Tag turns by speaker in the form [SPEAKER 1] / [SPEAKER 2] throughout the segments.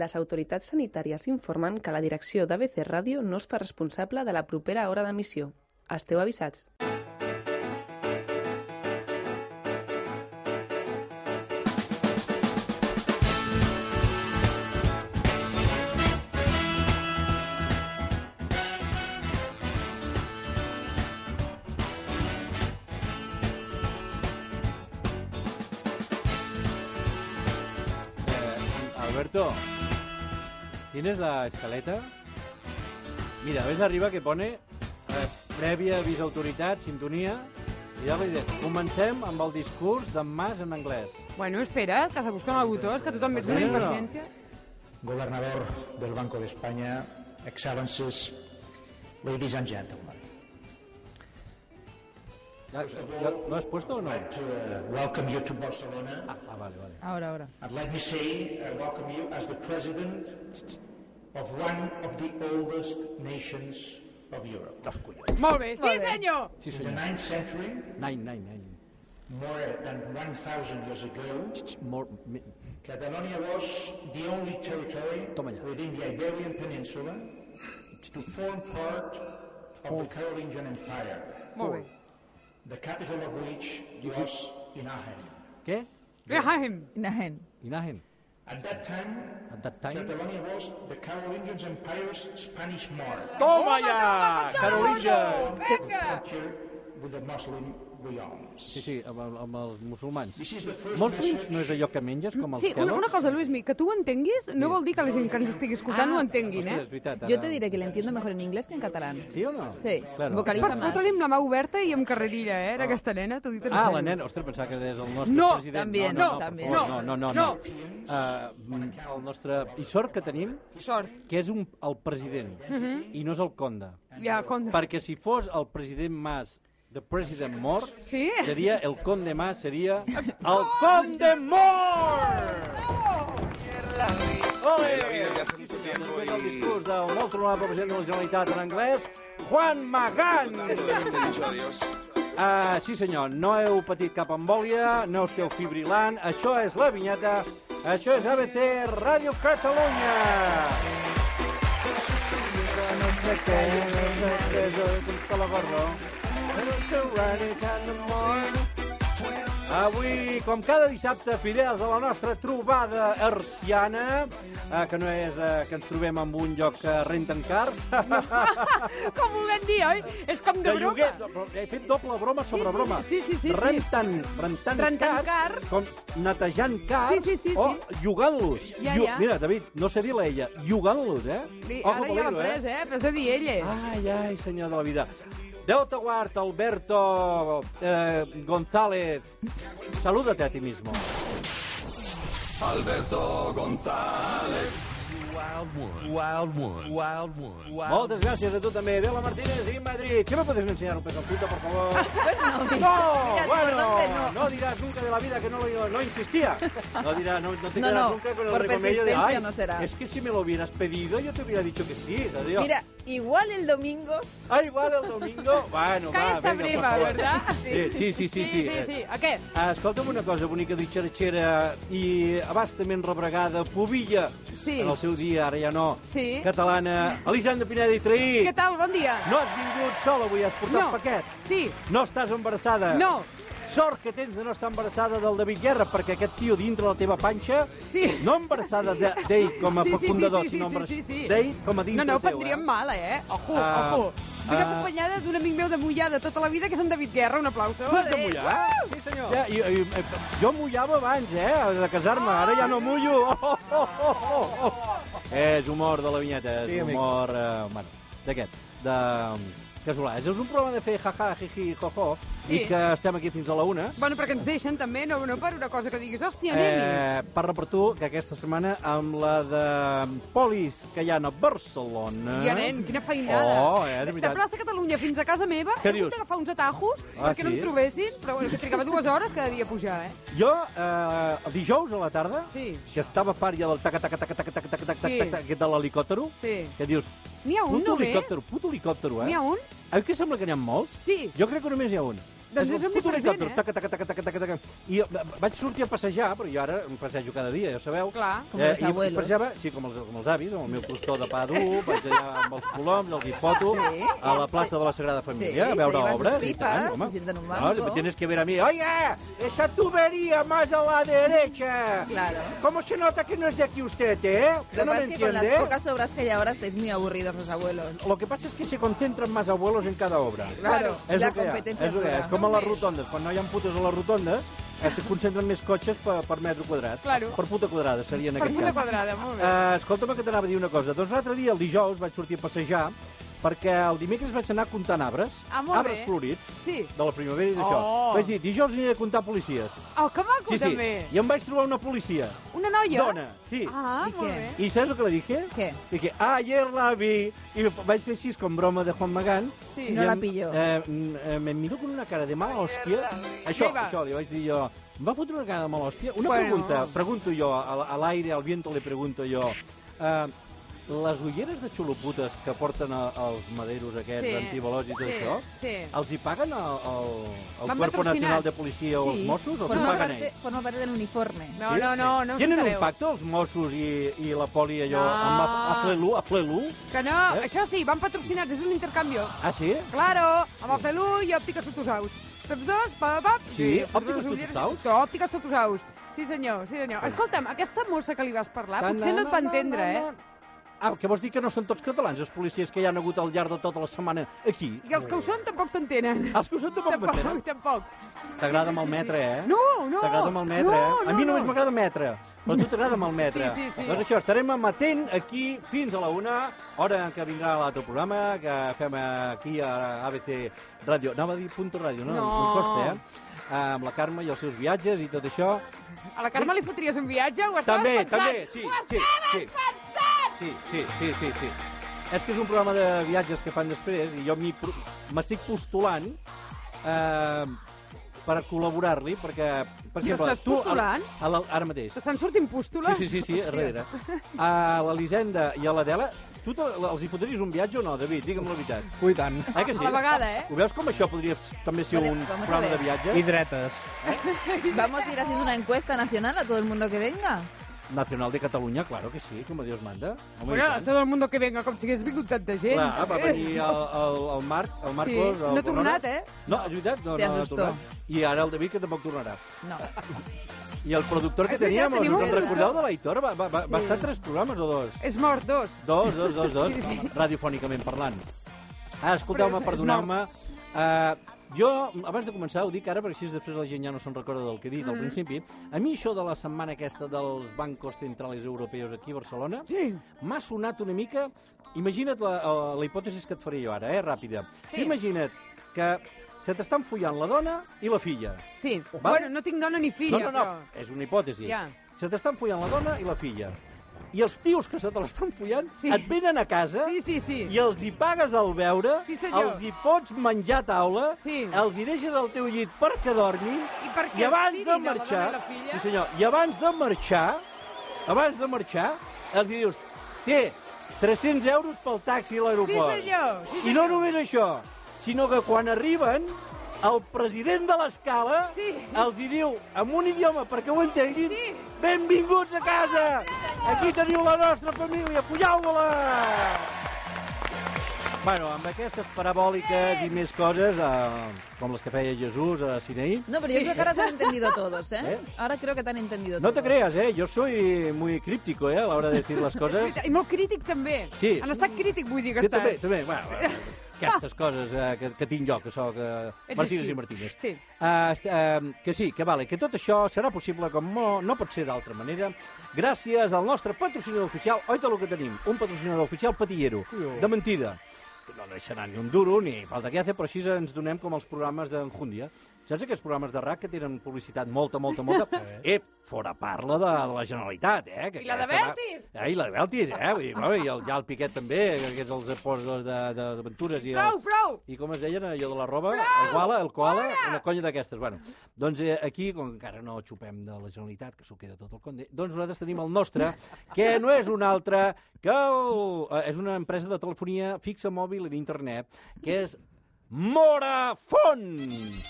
[SPEAKER 1] les autoritats sanitàries informen que la direcció d'ABC Ràdio no es fa responsable de la propera hora d'emissió. Esteu avisats.
[SPEAKER 2] Eh, Alberto, ¿tienes la escaleta? Mira, ves arriba que pone eh, prèvia avís autoritat, sintonia, i llavors dius, comencem amb el discurs d'en Mas en anglès.
[SPEAKER 3] Bueno, espera, que has de buscar en el botó, és que tu també ets una
[SPEAKER 2] No, no, no.
[SPEAKER 3] impaciència.
[SPEAKER 4] Gobernador del Banco de España, Excellencies, ladies and gentlemen,
[SPEAKER 2] Ja, ja, ¿Lo has puesto o no?
[SPEAKER 4] to uh, welcome you to Barcelona.
[SPEAKER 2] Ah, vale, vale.
[SPEAKER 3] Ara, ara.
[SPEAKER 4] And let me say, I welcome you as the president of one of the oldest nations of Europe.
[SPEAKER 2] Dos collons.
[SPEAKER 3] Molt bé, sí senyor!
[SPEAKER 2] Sí,
[SPEAKER 4] In the
[SPEAKER 2] senyor.
[SPEAKER 4] 9th century,
[SPEAKER 2] Nine, nine, nine.
[SPEAKER 4] more than 1,000 years ago,
[SPEAKER 2] Ch, Molt... mi-
[SPEAKER 4] Catalonia was the only territory
[SPEAKER 2] Toma ya.
[SPEAKER 4] within the Iberian Peninsula to form part of the Carolingian Empire,
[SPEAKER 3] Molt bé.
[SPEAKER 4] the capital of which was Inahen.
[SPEAKER 2] Què?
[SPEAKER 3] Graham!
[SPEAKER 5] Nahen.
[SPEAKER 2] Inagen.
[SPEAKER 4] At that time,
[SPEAKER 2] At that time...
[SPEAKER 4] Catalonia was the Carolingian Empire's Spanish mark.
[SPEAKER 2] Toma ja! Carolinja!
[SPEAKER 3] Vinga!
[SPEAKER 4] Here with the Muslim realms.
[SPEAKER 2] Sí, sí, amb, el- amb els musulmans.
[SPEAKER 4] This is the first
[SPEAKER 2] Molts
[SPEAKER 4] message
[SPEAKER 2] no és allò que menges, com els
[SPEAKER 3] Sí, una, una
[SPEAKER 2] Kellogg's?
[SPEAKER 3] cosa, Luismi, que tu ho entenguis no vol dir que la gent que ens estigui escoltant
[SPEAKER 5] Ah,
[SPEAKER 3] ho entenguin,
[SPEAKER 2] Hòstia,
[SPEAKER 3] eh?
[SPEAKER 2] és veritat.
[SPEAKER 5] Yo
[SPEAKER 2] ara-
[SPEAKER 5] te diré que la entiendo mejor en inglés que en catalán.
[SPEAKER 2] Sí o no?
[SPEAKER 5] Sí,
[SPEAKER 2] Claro.
[SPEAKER 5] vocaliza
[SPEAKER 3] Per
[SPEAKER 5] más.
[SPEAKER 3] fotre-li amb la mà oberta i amb carrerilla, eh, d'aquesta nena, t'ho dic en
[SPEAKER 2] Ah, la
[SPEAKER 3] sèrio.
[SPEAKER 2] nena. Ostres, pensava que és el nostre
[SPEAKER 3] No,
[SPEAKER 2] president.
[SPEAKER 5] també,
[SPEAKER 2] no,
[SPEAKER 5] no,
[SPEAKER 2] no,
[SPEAKER 5] també.
[SPEAKER 2] per favor, no, no, no.
[SPEAKER 3] No.
[SPEAKER 2] no. Uh, el nostre... I sort que tenim
[SPEAKER 3] Sort.
[SPEAKER 2] que és un, el president i no és el conde.
[SPEAKER 3] Ja, conta.
[SPEAKER 2] Perquè si fos el president Mas de President Mor,
[SPEAKER 3] Sí?
[SPEAKER 2] seria el conde Mas, seria el conde Mor! Ole!
[SPEAKER 6] vida, que hace mucho tiempo
[SPEAKER 2] Després del
[SPEAKER 6] y-
[SPEAKER 2] discurs del molt honorable president de la Generalitat en anglès, Juan Magán!
[SPEAKER 6] Tanto de haberte dicho adiós.
[SPEAKER 2] Ah, sí senyor, no heu patit cap embòlia, no esteu fibrilant, això és la vinyeta, això és ABC Ràdio Catalunya. Avui, com cada dissabte, fidels a la nostra trobada arciana, eh, que no és eh, que ens trobem en un lloc que renten cars,
[SPEAKER 3] Com ho vam dir, oi? És com de
[SPEAKER 2] de lloguer.
[SPEAKER 3] broma.
[SPEAKER 2] Però He fet doble broma sobre
[SPEAKER 3] sí,
[SPEAKER 2] broma.
[SPEAKER 3] sí, sí, sí, sí.
[SPEAKER 2] rentant, rentant,
[SPEAKER 3] Rentant
[SPEAKER 2] cars,
[SPEAKER 3] cars.
[SPEAKER 2] com netejant cars
[SPEAKER 3] Sí, sí, sí,
[SPEAKER 2] o
[SPEAKER 3] sí.
[SPEAKER 2] llogant-los.
[SPEAKER 3] Ja,
[SPEAKER 2] Llo-
[SPEAKER 3] ja.
[SPEAKER 2] Mira, David, no sé dir-la ella, llogant-los, eh? Ah.
[SPEAKER 3] Li,
[SPEAKER 2] Ojo
[SPEAKER 3] ara ja l'ha
[SPEAKER 2] peligro,
[SPEAKER 3] pres, eh? Però s'ha de dir ell, eh?
[SPEAKER 2] Ai, ai, senyor de la vida. Déu te guard, Alberto eh, González. Salúdate a ti mismo.
[SPEAKER 6] Alberto González. Wild one.
[SPEAKER 2] Moltes gràcies a tu també. Adéu, la Martínez i Madrid. ¿Qué me puedes enseñar un peso puto, por favor? no,
[SPEAKER 5] mira,
[SPEAKER 2] bueno,
[SPEAKER 5] perdón, no.
[SPEAKER 2] no dirás nunca de la vida que no lo no insistía. No dirás, no, no te
[SPEAKER 5] No,
[SPEAKER 2] quedas
[SPEAKER 5] no,
[SPEAKER 2] nunca con el
[SPEAKER 5] por
[SPEAKER 2] remedio de,
[SPEAKER 5] persistencia
[SPEAKER 2] ay,
[SPEAKER 5] no será".
[SPEAKER 2] es que si me lo hubieras pedido yo te hubiera dicho que sí. te digo,
[SPEAKER 5] Mira, igual el domingo
[SPEAKER 2] Ah, igual el domingo, bueno,
[SPEAKER 3] Cae
[SPEAKER 2] va, venga,
[SPEAKER 3] esa breva,
[SPEAKER 2] por favor.
[SPEAKER 3] ¿verdad?
[SPEAKER 2] Sí, sí, sí, sí.
[SPEAKER 3] Sí, sí, sí. sí. A què?
[SPEAKER 2] Ah, Escolta'm una cosa bonica d'Itxerxera i abastament rebregada, Pobilla,
[SPEAKER 3] Sí.
[SPEAKER 2] en el seu dia, ara ja no,
[SPEAKER 3] Sí.
[SPEAKER 2] catalana, Elisenda Pineda i Traí.
[SPEAKER 3] Què tal? Bon dia.
[SPEAKER 2] No has vingut sol avui, has portat
[SPEAKER 3] No.
[SPEAKER 2] paquet.
[SPEAKER 3] Sí.
[SPEAKER 2] No estàs embarassada.
[SPEAKER 3] No.
[SPEAKER 2] Sort que tens de no estar embarassada del David Guerra, perquè aquest tio dintre la teva panxa,
[SPEAKER 3] Sí.
[SPEAKER 2] no embarassada de- d'ell com a
[SPEAKER 3] Sí, sí, sí,
[SPEAKER 2] fecundador,
[SPEAKER 3] sí, sí,
[SPEAKER 2] sinó
[SPEAKER 3] sí, sí,
[SPEAKER 2] embarassada
[SPEAKER 3] sí.
[SPEAKER 2] d'ell com a dintre
[SPEAKER 3] No,
[SPEAKER 2] teu.
[SPEAKER 3] no, ho prendríem mal, eh? Ojo,
[SPEAKER 2] Ah,
[SPEAKER 3] ojo. Estic
[SPEAKER 2] ah.
[SPEAKER 3] acompanyada d'un amic meu de Mollà de tota la vida, que és en David Guerra. Un aplauso.
[SPEAKER 2] Has de mullar? Sí, senyor. Ja, i, i, eh, jo mullava abans, eh, de casar-me. Ara ja no mullo. Oh, oh, oh, oh, oh. És humor de la vinyeta, és
[SPEAKER 7] Sí, amics.
[SPEAKER 2] humor... Eh, bueno, d'aquest, de mm, casolà. És un programa de fer ha-ha, hi-hi, ho-ho, i
[SPEAKER 3] Sí.
[SPEAKER 2] que estem aquí fins a la una.
[SPEAKER 3] Eh, Bueno, perquè ens deixen també, no, no per una cosa que diguis, hòstia, anem-hi.
[SPEAKER 2] Eh, parla per tu, que aquesta setmana amb la de mm, Polis, que hi ha a Barcelona...
[SPEAKER 3] I anem, quina feinada.
[SPEAKER 2] Oh, eh, de
[SPEAKER 3] de
[SPEAKER 2] veritat.
[SPEAKER 3] plaça Catalunya fins a casa meva
[SPEAKER 2] Què
[SPEAKER 3] he hagut
[SPEAKER 2] dius?
[SPEAKER 3] d'agafar uns atajos
[SPEAKER 2] Ah,
[SPEAKER 3] perquè no
[SPEAKER 2] sí?
[SPEAKER 3] em trobessin, però bueno, que trigava dues hores cada dia a pujar, eh?
[SPEAKER 2] Jo, eh, el dijous a la tarda,
[SPEAKER 3] Sí.
[SPEAKER 2] que estava pària del taca taca taca taca taca taca taca
[SPEAKER 3] Sí.
[SPEAKER 2] taca taca aquest de l'helicòptero,
[SPEAKER 3] Sí.
[SPEAKER 2] que dius,
[SPEAKER 3] N'hi ha un
[SPEAKER 2] puto
[SPEAKER 3] només?
[SPEAKER 2] helicòptero, puto helicòptero, eh?
[SPEAKER 3] N'hi ha un?
[SPEAKER 2] Eh, que sembla que n'hi ha molts?
[SPEAKER 3] Sí.
[SPEAKER 2] Jo crec que només hi ha un.
[SPEAKER 3] Doncs és
[SPEAKER 2] un
[SPEAKER 3] un
[SPEAKER 2] puto
[SPEAKER 3] present,
[SPEAKER 2] helicòpter.
[SPEAKER 3] eh?
[SPEAKER 2] Taca, taca, taca, taca, taca, taca. I jo, va- vaig sortir a passejar, però jo ara em passejo cada dia, ja ho sabeu. Eh,
[SPEAKER 3] Clar.
[SPEAKER 5] Com els
[SPEAKER 2] i
[SPEAKER 5] abuelos.
[SPEAKER 2] Passejava, sí, com els, com els avis, amb el meu costó de pa dur, vaig allà amb els coloms, el guifoto, sí. a la plaça de la Sagrada Família,
[SPEAKER 5] Sí,
[SPEAKER 2] a veure
[SPEAKER 5] se lleva sus
[SPEAKER 2] obra.
[SPEAKER 5] pipas,
[SPEAKER 2] home.
[SPEAKER 5] se sienta en un
[SPEAKER 2] No,
[SPEAKER 5] banco.
[SPEAKER 2] tienes que ver a mí. Oiga, esa tubería más a la derecha.
[SPEAKER 5] Claro.
[SPEAKER 2] ¿Cómo se nota que no es de aquí usted, eh?
[SPEAKER 5] Lo que
[SPEAKER 2] no
[SPEAKER 5] pasa
[SPEAKER 2] me
[SPEAKER 5] es que con
[SPEAKER 2] entiende?
[SPEAKER 5] las pocas obras que hay ahora estáis muy aburridos los abuelos.
[SPEAKER 2] Lo que pasa es que se concentran más abuelos en cada obra.
[SPEAKER 5] Claro,
[SPEAKER 2] és
[SPEAKER 5] la
[SPEAKER 2] el que hi ha,
[SPEAKER 5] competència
[SPEAKER 2] és, el que hi ha.
[SPEAKER 5] dura.
[SPEAKER 2] és com a les rotondes, quan no hi ha putes a les rotondes, eh, se concentren més cotxes per, per metre quadrat.
[SPEAKER 3] Claro.
[SPEAKER 2] Per puta quadrada seria en
[SPEAKER 3] Per
[SPEAKER 2] aquest
[SPEAKER 3] puta
[SPEAKER 2] cas.
[SPEAKER 3] quadrada, molt bé.
[SPEAKER 2] Eh, escolta'm que t'anava a dir una cosa. Doncs l'altre dia, el dijous, vaig sortir a passejar perquè el dimecres vaig anar comptant arbres,
[SPEAKER 3] Ah, molt
[SPEAKER 2] arbres
[SPEAKER 3] bé.
[SPEAKER 2] florits,
[SPEAKER 3] Sí.
[SPEAKER 2] de la primavera i d'això.
[SPEAKER 3] Oh.
[SPEAKER 2] Vaig dir, dijous aniré a comptar policies.
[SPEAKER 3] Oh, que maco,
[SPEAKER 2] Sí, sí.
[SPEAKER 3] també.
[SPEAKER 2] I em vaig trobar una policia.
[SPEAKER 3] Una noia?
[SPEAKER 2] Dona, sí.
[SPEAKER 3] Ah,
[SPEAKER 5] I
[SPEAKER 3] molt
[SPEAKER 5] què?
[SPEAKER 3] bé.
[SPEAKER 2] ¿Y sabes lo que le dije?
[SPEAKER 5] ¿Qué?
[SPEAKER 2] Dije, ayer la vi. Y vais que sí, es con broma de Juan Magán.
[SPEAKER 3] Sí.
[SPEAKER 2] I
[SPEAKER 5] No
[SPEAKER 2] em-
[SPEAKER 5] la pilló.
[SPEAKER 2] Eh, mm, eh, me miró con una cara de mala hòstia. Això,
[SPEAKER 3] Què hi va?
[SPEAKER 2] això, li vaig dir jo. Em va fotre una cara de mala hòstia. Una
[SPEAKER 3] Bueno.
[SPEAKER 2] pregunta, pregunto jo, al, a l'aire, al viento li pregunto jo. Eh, les ulleres de xuloputes que porten a, els maderos aquests,
[SPEAKER 3] Sí.
[SPEAKER 2] antivalògics i tot
[SPEAKER 3] Sí,
[SPEAKER 2] això,
[SPEAKER 3] sí.
[SPEAKER 2] els hi paguen el, el, el
[SPEAKER 3] Van
[SPEAKER 2] Cuerpo
[SPEAKER 3] patrocinats.
[SPEAKER 2] Nacional de Policia o els
[SPEAKER 5] Sí,
[SPEAKER 2] Mossos? Els hi
[SPEAKER 5] forma,
[SPEAKER 2] paguen
[SPEAKER 5] parte,
[SPEAKER 2] ells?
[SPEAKER 5] forma parte del uniforme.
[SPEAKER 3] No, no, no, no us
[SPEAKER 2] Tenen un
[SPEAKER 3] entereu.
[SPEAKER 2] pacte els Mossos i, i la poli allò
[SPEAKER 3] No.
[SPEAKER 2] amb a, a Flelu, a Flelu?
[SPEAKER 3] Que no,
[SPEAKER 2] Eh?
[SPEAKER 3] això sí, van patrocinats, és un intercanvi.
[SPEAKER 2] Ah, sí?
[SPEAKER 3] Claro, amb el Pelú i Òptiques Sotosaus. Tots dos, pa, pa, pa.
[SPEAKER 2] Sí, Òptiques Totosaus?
[SPEAKER 3] Òptiques Sotosaus. Sí, senyor, sí, senyor. Escolta'm, aquesta mossa que li vas parlar, Ah, potser no et va entendre, eh?
[SPEAKER 2] Ah, que vols dir que no són tots catalans, els policies que hi han hagut al llarg de tota la setmana aquí?
[SPEAKER 3] I els que ho són tampoc t'entenen.
[SPEAKER 2] Els que ho són Ah, tampoc m'entenen.
[SPEAKER 3] Tampoc, tampoc.
[SPEAKER 2] T'agrada malmetre, eh?
[SPEAKER 3] No, no.
[SPEAKER 2] T'agrada malmetre,
[SPEAKER 3] No,
[SPEAKER 2] eh?
[SPEAKER 3] no,
[SPEAKER 2] A mi només
[SPEAKER 3] no.
[SPEAKER 2] m'agrada metre, però a tu t'agrada malmetre.
[SPEAKER 3] Sí, sí, sí.
[SPEAKER 2] Doncs això, estarem amatent aquí fins a la una, hora en què vindrà l'altre programa que fem aquí a ABC Ràdio. Anava a dir punto ràdio, no?
[SPEAKER 3] No.
[SPEAKER 2] Em costa, eh? amb la Carme i els seus viatges i tot això.
[SPEAKER 3] A la Carme li fotries un viatge? Ho estaves
[SPEAKER 2] També,
[SPEAKER 3] pensant?
[SPEAKER 2] també, sí,
[SPEAKER 3] Ho
[SPEAKER 2] sí,
[SPEAKER 3] estaves
[SPEAKER 2] sí. Sí, sí, sí, sí, sí. És que és un programa de viatges que fan després i jo m'hi pro- m'estic postulant eh, per col·laborar-li, perquè... Per
[SPEAKER 3] T'hi estàs
[SPEAKER 2] tu,
[SPEAKER 3] postulant?
[SPEAKER 2] A, la, ara mateix.
[SPEAKER 3] T'estan sortint
[SPEAKER 2] Sí,
[SPEAKER 3] pústules?
[SPEAKER 2] sí, sí, sí a
[SPEAKER 3] Hòstia.
[SPEAKER 2] darrere. A l'Elisenda i a l'Adela, tu te, els hi fotries un viatge o no, David? Digue'm la veritat.
[SPEAKER 7] Ui, tant.
[SPEAKER 2] Eh que sí?
[SPEAKER 3] A la vegada, eh?
[SPEAKER 2] Ho veus com això podria també ser
[SPEAKER 5] Vale,
[SPEAKER 2] un
[SPEAKER 5] vamos a
[SPEAKER 2] programa
[SPEAKER 5] ver.
[SPEAKER 2] de viatge?
[SPEAKER 7] I dretes.
[SPEAKER 5] Vamos a ir haciendo una encuesta nacional a todo el mundo que venga.
[SPEAKER 2] Nacional de Catalunya, claro que sí, com a Dios manda. Home, i
[SPEAKER 3] Bueno,
[SPEAKER 2] tant.
[SPEAKER 3] tot el món que venga, com si hagués vingut tanta gent. Eh,
[SPEAKER 2] Clar, va venir el, el, el Marc, el Marcos...
[SPEAKER 3] Sí,
[SPEAKER 2] el
[SPEAKER 3] no ha tornat,
[SPEAKER 2] Corona.
[SPEAKER 3] eh?
[SPEAKER 2] No, és veritat, no,
[SPEAKER 5] Se
[SPEAKER 2] no, no ha
[SPEAKER 5] assustó.
[SPEAKER 2] tornat. I ara el David, que tampoc tornarà.
[SPEAKER 5] No.
[SPEAKER 2] I el productor que
[SPEAKER 3] És
[SPEAKER 2] teníem,
[SPEAKER 3] veritat,
[SPEAKER 2] us
[SPEAKER 3] tenim un
[SPEAKER 2] en
[SPEAKER 3] productor.
[SPEAKER 2] recordeu de l'Aitor? Va, va, va, va estar tres programes o dos?
[SPEAKER 3] És mort dos.
[SPEAKER 2] Dos, dos, dos, dos,
[SPEAKER 3] Sí, sí.
[SPEAKER 2] radiofònicament parlant. Ah, escolteu-me,
[SPEAKER 3] Però és- és
[SPEAKER 2] perdoneu-me. Uh, jo, abans de començar, ho dic ara, perquè així després la gent ja no se'n recorda del que he dit
[SPEAKER 3] Mm.
[SPEAKER 2] al principi. A mi això de la setmana aquesta dels bancos centrals europeus aquí a Barcelona m'ha sonat una mica... Imagina't la, eh, la hipòtesi que et faré jo ara, eh, ràpida.
[SPEAKER 3] Sí.
[SPEAKER 2] Imagina't que se t'estan follant la dona i la filla.
[SPEAKER 3] Sí.
[SPEAKER 2] Vale.
[SPEAKER 3] Bueno, no tinc dona ni filla,
[SPEAKER 2] no, no, no,
[SPEAKER 3] però...
[SPEAKER 2] és una hipòtesi.
[SPEAKER 3] Ja.
[SPEAKER 2] Se t'estan follant la dona i la filla. I els tios que se te l'estan follant
[SPEAKER 3] Sí.
[SPEAKER 2] et venen a casa
[SPEAKER 3] Sí, sí, sí.
[SPEAKER 2] i els hi pagues al beure,
[SPEAKER 3] Sí, senyor.
[SPEAKER 2] els hi pots menjar a taula,
[SPEAKER 3] Sí.
[SPEAKER 2] els hi deixes al teu llit perquè dormin,
[SPEAKER 3] I perquè
[SPEAKER 2] i abans
[SPEAKER 3] estirin
[SPEAKER 2] de
[SPEAKER 3] a la
[SPEAKER 2] marxar...
[SPEAKER 3] dona i la filla?
[SPEAKER 2] Sí, senyor, i abans de marxar, abans de marxar, els hi dius, té 300 euros pel taxi a l'aeroport.
[SPEAKER 3] Sí, senyor, sí,
[SPEAKER 2] I no només això, sinó que quan arriben, el president de l'escala
[SPEAKER 3] Sí.
[SPEAKER 2] els hi diu, amb un idioma perquè ho entenguin,
[SPEAKER 3] Sí. Ah,
[SPEAKER 2] benvinguts a casa! Aquí teniu la nostra família, pujau-la! Bueno, amb aquestes parabòliques i més coses, eh, com les que feia Jesús a Sineí,
[SPEAKER 5] No, pero yo creo que ahora te han entendido todos, ¿eh?
[SPEAKER 2] ¿Eh?
[SPEAKER 5] Ahora creo que te han entendido
[SPEAKER 2] no
[SPEAKER 5] todos.
[SPEAKER 2] te creas, eh? Yo soy muy críptico, eh, a la hora de decir las coses.
[SPEAKER 3] I molt crític, també.
[SPEAKER 2] Sí.
[SPEAKER 3] En estat crític, vull dir que
[SPEAKER 2] Jo també,
[SPEAKER 3] estàs.
[SPEAKER 2] també, bueno, bueno, aquestes coses eh, que, que tinc jo, que sóc eh,
[SPEAKER 3] Ets
[SPEAKER 2] Martínez
[SPEAKER 3] així.
[SPEAKER 2] i Martínez.
[SPEAKER 3] Sí.
[SPEAKER 2] Eh, est- eh, que sí, que vale, que tot això serà possible com no, no pot ser d'altra manera gràcies al nostre patrocinador oficial, oi de lo que tenim, un patrocinador oficial patillero, de mentida. No deixarà ni un duro ni falta que hace, però així ens donem com els programes d'Enjúndia. Saps aquests programes de RAC que tenen publicitat molta, molta, molta? Ep, fora parla de, de la Generalitat, eh? Que
[SPEAKER 3] I la de
[SPEAKER 2] aquesta va-
[SPEAKER 3] Beltis.
[SPEAKER 2] Eh, I la de Beltis, eh? Vull dir, bueno, i el, ja el Piquet també, que és els apòstols de, de, de Ventures i el,
[SPEAKER 3] Prou, prou!
[SPEAKER 2] i com es deien allò de la roba? El guala, el koala, una colla d'aquestes. Bueno, doncs eh, aquí, com que encara no xupem de la Generalitat, que s'ho queda tot el conde, doncs nosaltres tenim el nostre, que no és un altre, que el, eh, és una empresa de telefonia fixa mòbil i d'internet, que és Morafons.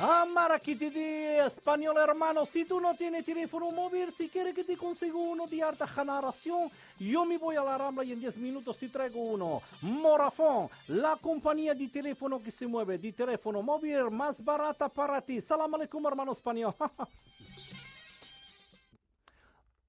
[SPEAKER 2] Amarakititi, español hermano, si tú no tienes teléfono móvil, si quieres que te consiga uno de alta generación, yo me voy a la Rambla y en 10 minutos te traigo uno. Morafón, la compañía de teléfono que se mueve, de teléfono móvil más barata para ti. Salam alaikum, hermano español.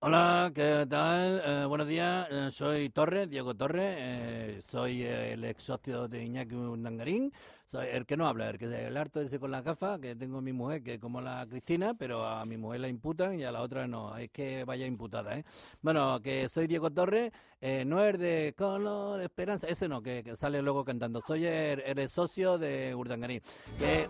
[SPEAKER 2] Hola, ¿qué tal? Eh, buenos días, eh, soy Torres, Diego Torres, eh, soy eh, el ex socio de Iñaki Nangarín, soy el que no habla, el que el harto ese con la gafa, que tengo a mi mujer, que es como la Cristina, pero a mi mujer la imputan y a la otra no, es que vaya imputada, ¿eh? Bueno, que soy Diego Torres, eh, no es de color, esperanza, ese no, que, que sale luego cantando, soy el, el ex socio de Urdangarín. Que,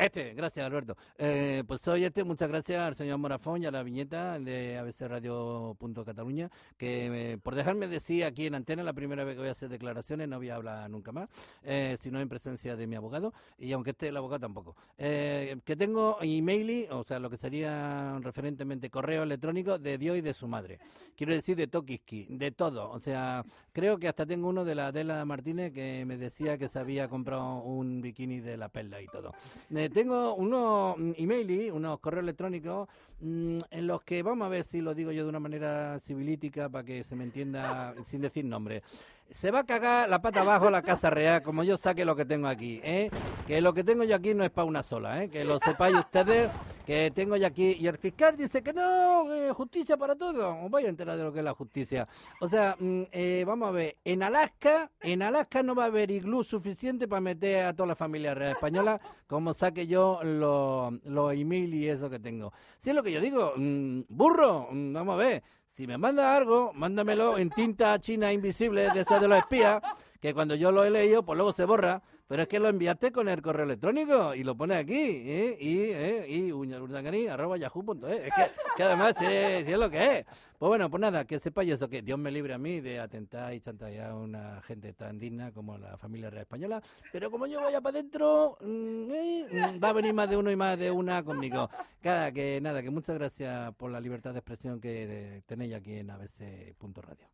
[SPEAKER 2] este, gracias Alberto. Eh, pues soy este, muchas gracias al señor Morafón y a la viñeta de abcradio.cataluña, que eh, por dejarme decir aquí en antena, la primera vez que voy a hacer declaraciones, no voy a hablar nunca más, eh, sino en presencia de mi abogado, y aunque esté el abogado tampoco. Eh, que tengo email, o sea, lo que sería referentemente correo electrónico de Dios y de su madre. Quiero decir de Tokiski, de todo. O sea, creo que hasta tengo uno de la Adela Martínez que me decía que se había comprado un bikini de la perla y todo. Eh, tengo unos mm, email, unos correos electrónicos mm, en los que vamos a ver si lo digo yo de una manera civilítica para que se me entienda sin decir nombre. Se va a cagar la pata abajo la casa real, como yo saque lo que tengo aquí, ¿eh? Que lo que tengo yo aquí no es para una sola, ¿eh? Que lo sepáis ustedes, que tengo yo aquí. Y el fiscal dice que no, eh, justicia para todos. Os vais a enterar de lo que es la justicia. O sea, mm, eh, vamos a ver, en Alaska, en Alaska no va a haber iglú suficiente para meter a toda la familia real española, como saque yo los los email y eso que tengo. Si es lo que yo digo, mm, burro, mm, vamos a ver. Si me manda algo, mándamelo en tinta china invisible de esa de los espías, que cuando yo lo he leído, pues luego se borra. Pero es que lo enviaste con el correo electrónico y lo pones aquí, ¿eh? y, ¿eh? y uñalurdangani arroba yahoo punto e. es. Es que, que además sí, sí es lo que es. Pues bueno, pues nada, que sepáis eso, que Dios me libre a mí de atentar y chantajear a una gente tan digna como la familia real española. Pero como yo vaya para adentro, mm, eh, mm, va a venir más de uno y más de una conmigo. Cada que nada, que muchas gracias por la libertad de expresión que eh, tenéis aquí en abc.radio.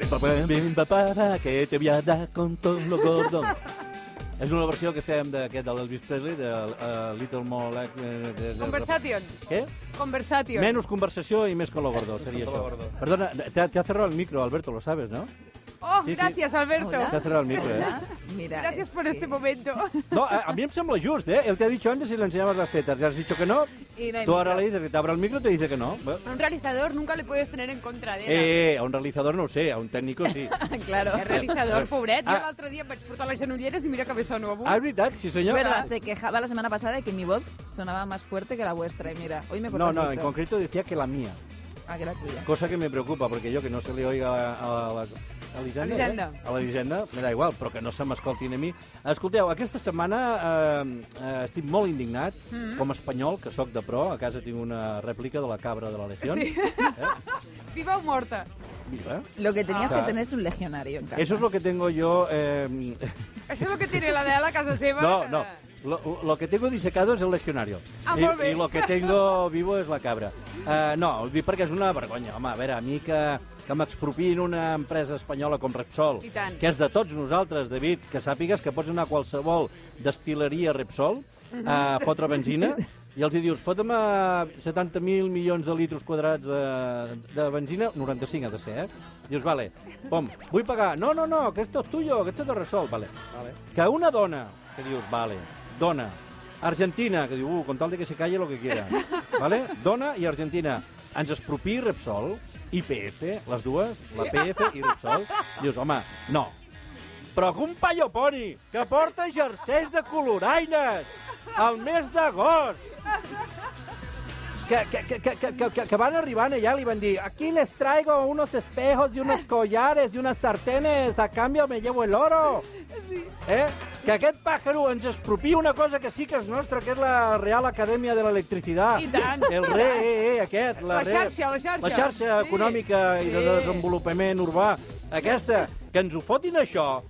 [SPEAKER 2] Ven papá, ven papá, que te voy a dar con tot lo gordo. És una versió que fem d'aquest, de l'Elvis Presley, de uh, Little More Like... eh, de- de-
[SPEAKER 3] Conversation.
[SPEAKER 2] Què?
[SPEAKER 3] Conversation.
[SPEAKER 2] Menos conversació i més color gordo, seria això. Perdona, te, ha- te ha cerrado el micro, Alberto, lo sabes, ¿no?
[SPEAKER 3] Oh,
[SPEAKER 2] Sí, sí.
[SPEAKER 3] gracias, Alberto.
[SPEAKER 2] Te ha cerrado el micro, eh?
[SPEAKER 5] Hola, Mira,
[SPEAKER 3] Gracias
[SPEAKER 5] es
[SPEAKER 3] por
[SPEAKER 5] que-
[SPEAKER 3] este momento.
[SPEAKER 2] No, a, a mí me sembla just, ¿eh? Él te ha dicho antes si le enseñabas las tetas, ya has dicho que no.
[SPEAKER 5] Y no hay
[SPEAKER 2] Tú ahora
[SPEAKER 5] micro.
[SPEAKER 2] le dices que te abra el micro y te dice que no. Bueno,
[SPEAKER 3] A un realizador nunca le puedes tener en contra de
[SPEAKER 2] Eh, a un realizador no ho sé, a un técnico sí.
[SPEAKER 5] claro.
[SPEAKER 3] El realizador, pobret.
[SPEAKER 2] Ah.
[SPEAKER 3] Jo l'altre dia em vaig portar les genolleres i mira que bé sono avui.
[SPEAKER 2] Ah, és veritat, sí
[SPEAKER 5] Es
[SPEAKER 2] senyor.
[SPEAKER 5] verdad, se quejaba la semana pasada de que mi voz sonaba más fuerte que la vuestra. Y mira, hoy me cortó
[SPEAKER 2] No,
[SPEAKER 5] el
[SPEAKER 2] no, en
[SPEAKER 5] micro.
[SPEAKER 2] concreto decía que la mía.
[SPEAKER 5] Ah, que la tuya.
[SPEAKER 2] Cosa que me preocupa, perquè jo que no se li oiga a, la, a, la, a l'Hisenda,
[SPEAKER 3] Elisenda.
[SPEAKER 2] eh? a l'Elisenda, me da igual, però que no se m'escoltin a mi. Escolteu, aquesta setmana eh, eh, estic molt indignat, mm -hmm. com a espanyol, que sóc de pro, a casa tinc una rèplica de la cabra de la Legión. Sí. Eh?
[SPEAKER 3] Viva o morta.
[SPEAKER 2] Mira,
[SPEAKER 5] Lo que tenías
[SPEAKER 2] Ah.
[SPEAKER 5] que tener es un legionario en casa.
[SPEAKER 2] eso es lo que tengo yo... Eh,
[SPEAKER 3] Això és el que tiene la de a casa seva.
[SPEAKER 2] no, no, lo, lo que tengo disecado es el legionario.
[SPEAKER 3] Ah,
[SPEAKER 2] I,
[SPEAKER 3] molt bé.
[SPEAKER 2] I lo que tengo vivo és la cabra. Uh, no, ho dic perquè és una vergonya. Home, a veure, a mi que, que m'expropin una empresa espanyola com Repsol,
[SPEAKER 3] I tant.
[SPEAKER 2] que és de tots nosaltres, David, que sàpigues que pots anar a qualsevol destileria Repsol
[SPEAKER 3] Mm-hmm.
[SPEAKER 2] a fotre benzina i els hi dius, fotem 70.000 milions de litros quadrats de, de benzina, 95 ha de ser, eh? Dius, vale, pom, vull pagar. No, no, no, que esto es tuyo, que esto es de Repsol, vale. vale. Que una dona, que dius, vale, dona, Argentina, que diu, uh, con tal de que se calle lo que quiera, vale? Dona i Argentina. Ens expropi Repsol, IPF, les dues, la PF i Repsol. Dius, home, no, però que un paio poni que porta jerseis de coloraines al mes d'agost que, que, que, que, que, que, que van arribant allà li van dir aquí les traigo unos espejos y unos collares y unas sartenes a cambio me llevo el oro eh? que aquest pàjaro ens expropi una cosa que sí que és nostra que és la Real Acadèmia de l'Electricitat
[SPEAKER 3] I tant.
[SPEAKER 2] el re -E -E aquest la,
[SPEAKER 3] La
[SPEAKER 2] re-
[SPEAKER 3] xarxa, la xarxa.
[SPEAKER 2] la xarxa
[SPEAKER 3] Sí.
[SPEAKER 2] econòmica i de
[SPEAKER 3] Sí.
[SPEAKER 2] desenvolupament urbà aquesta, que ens ho fotin això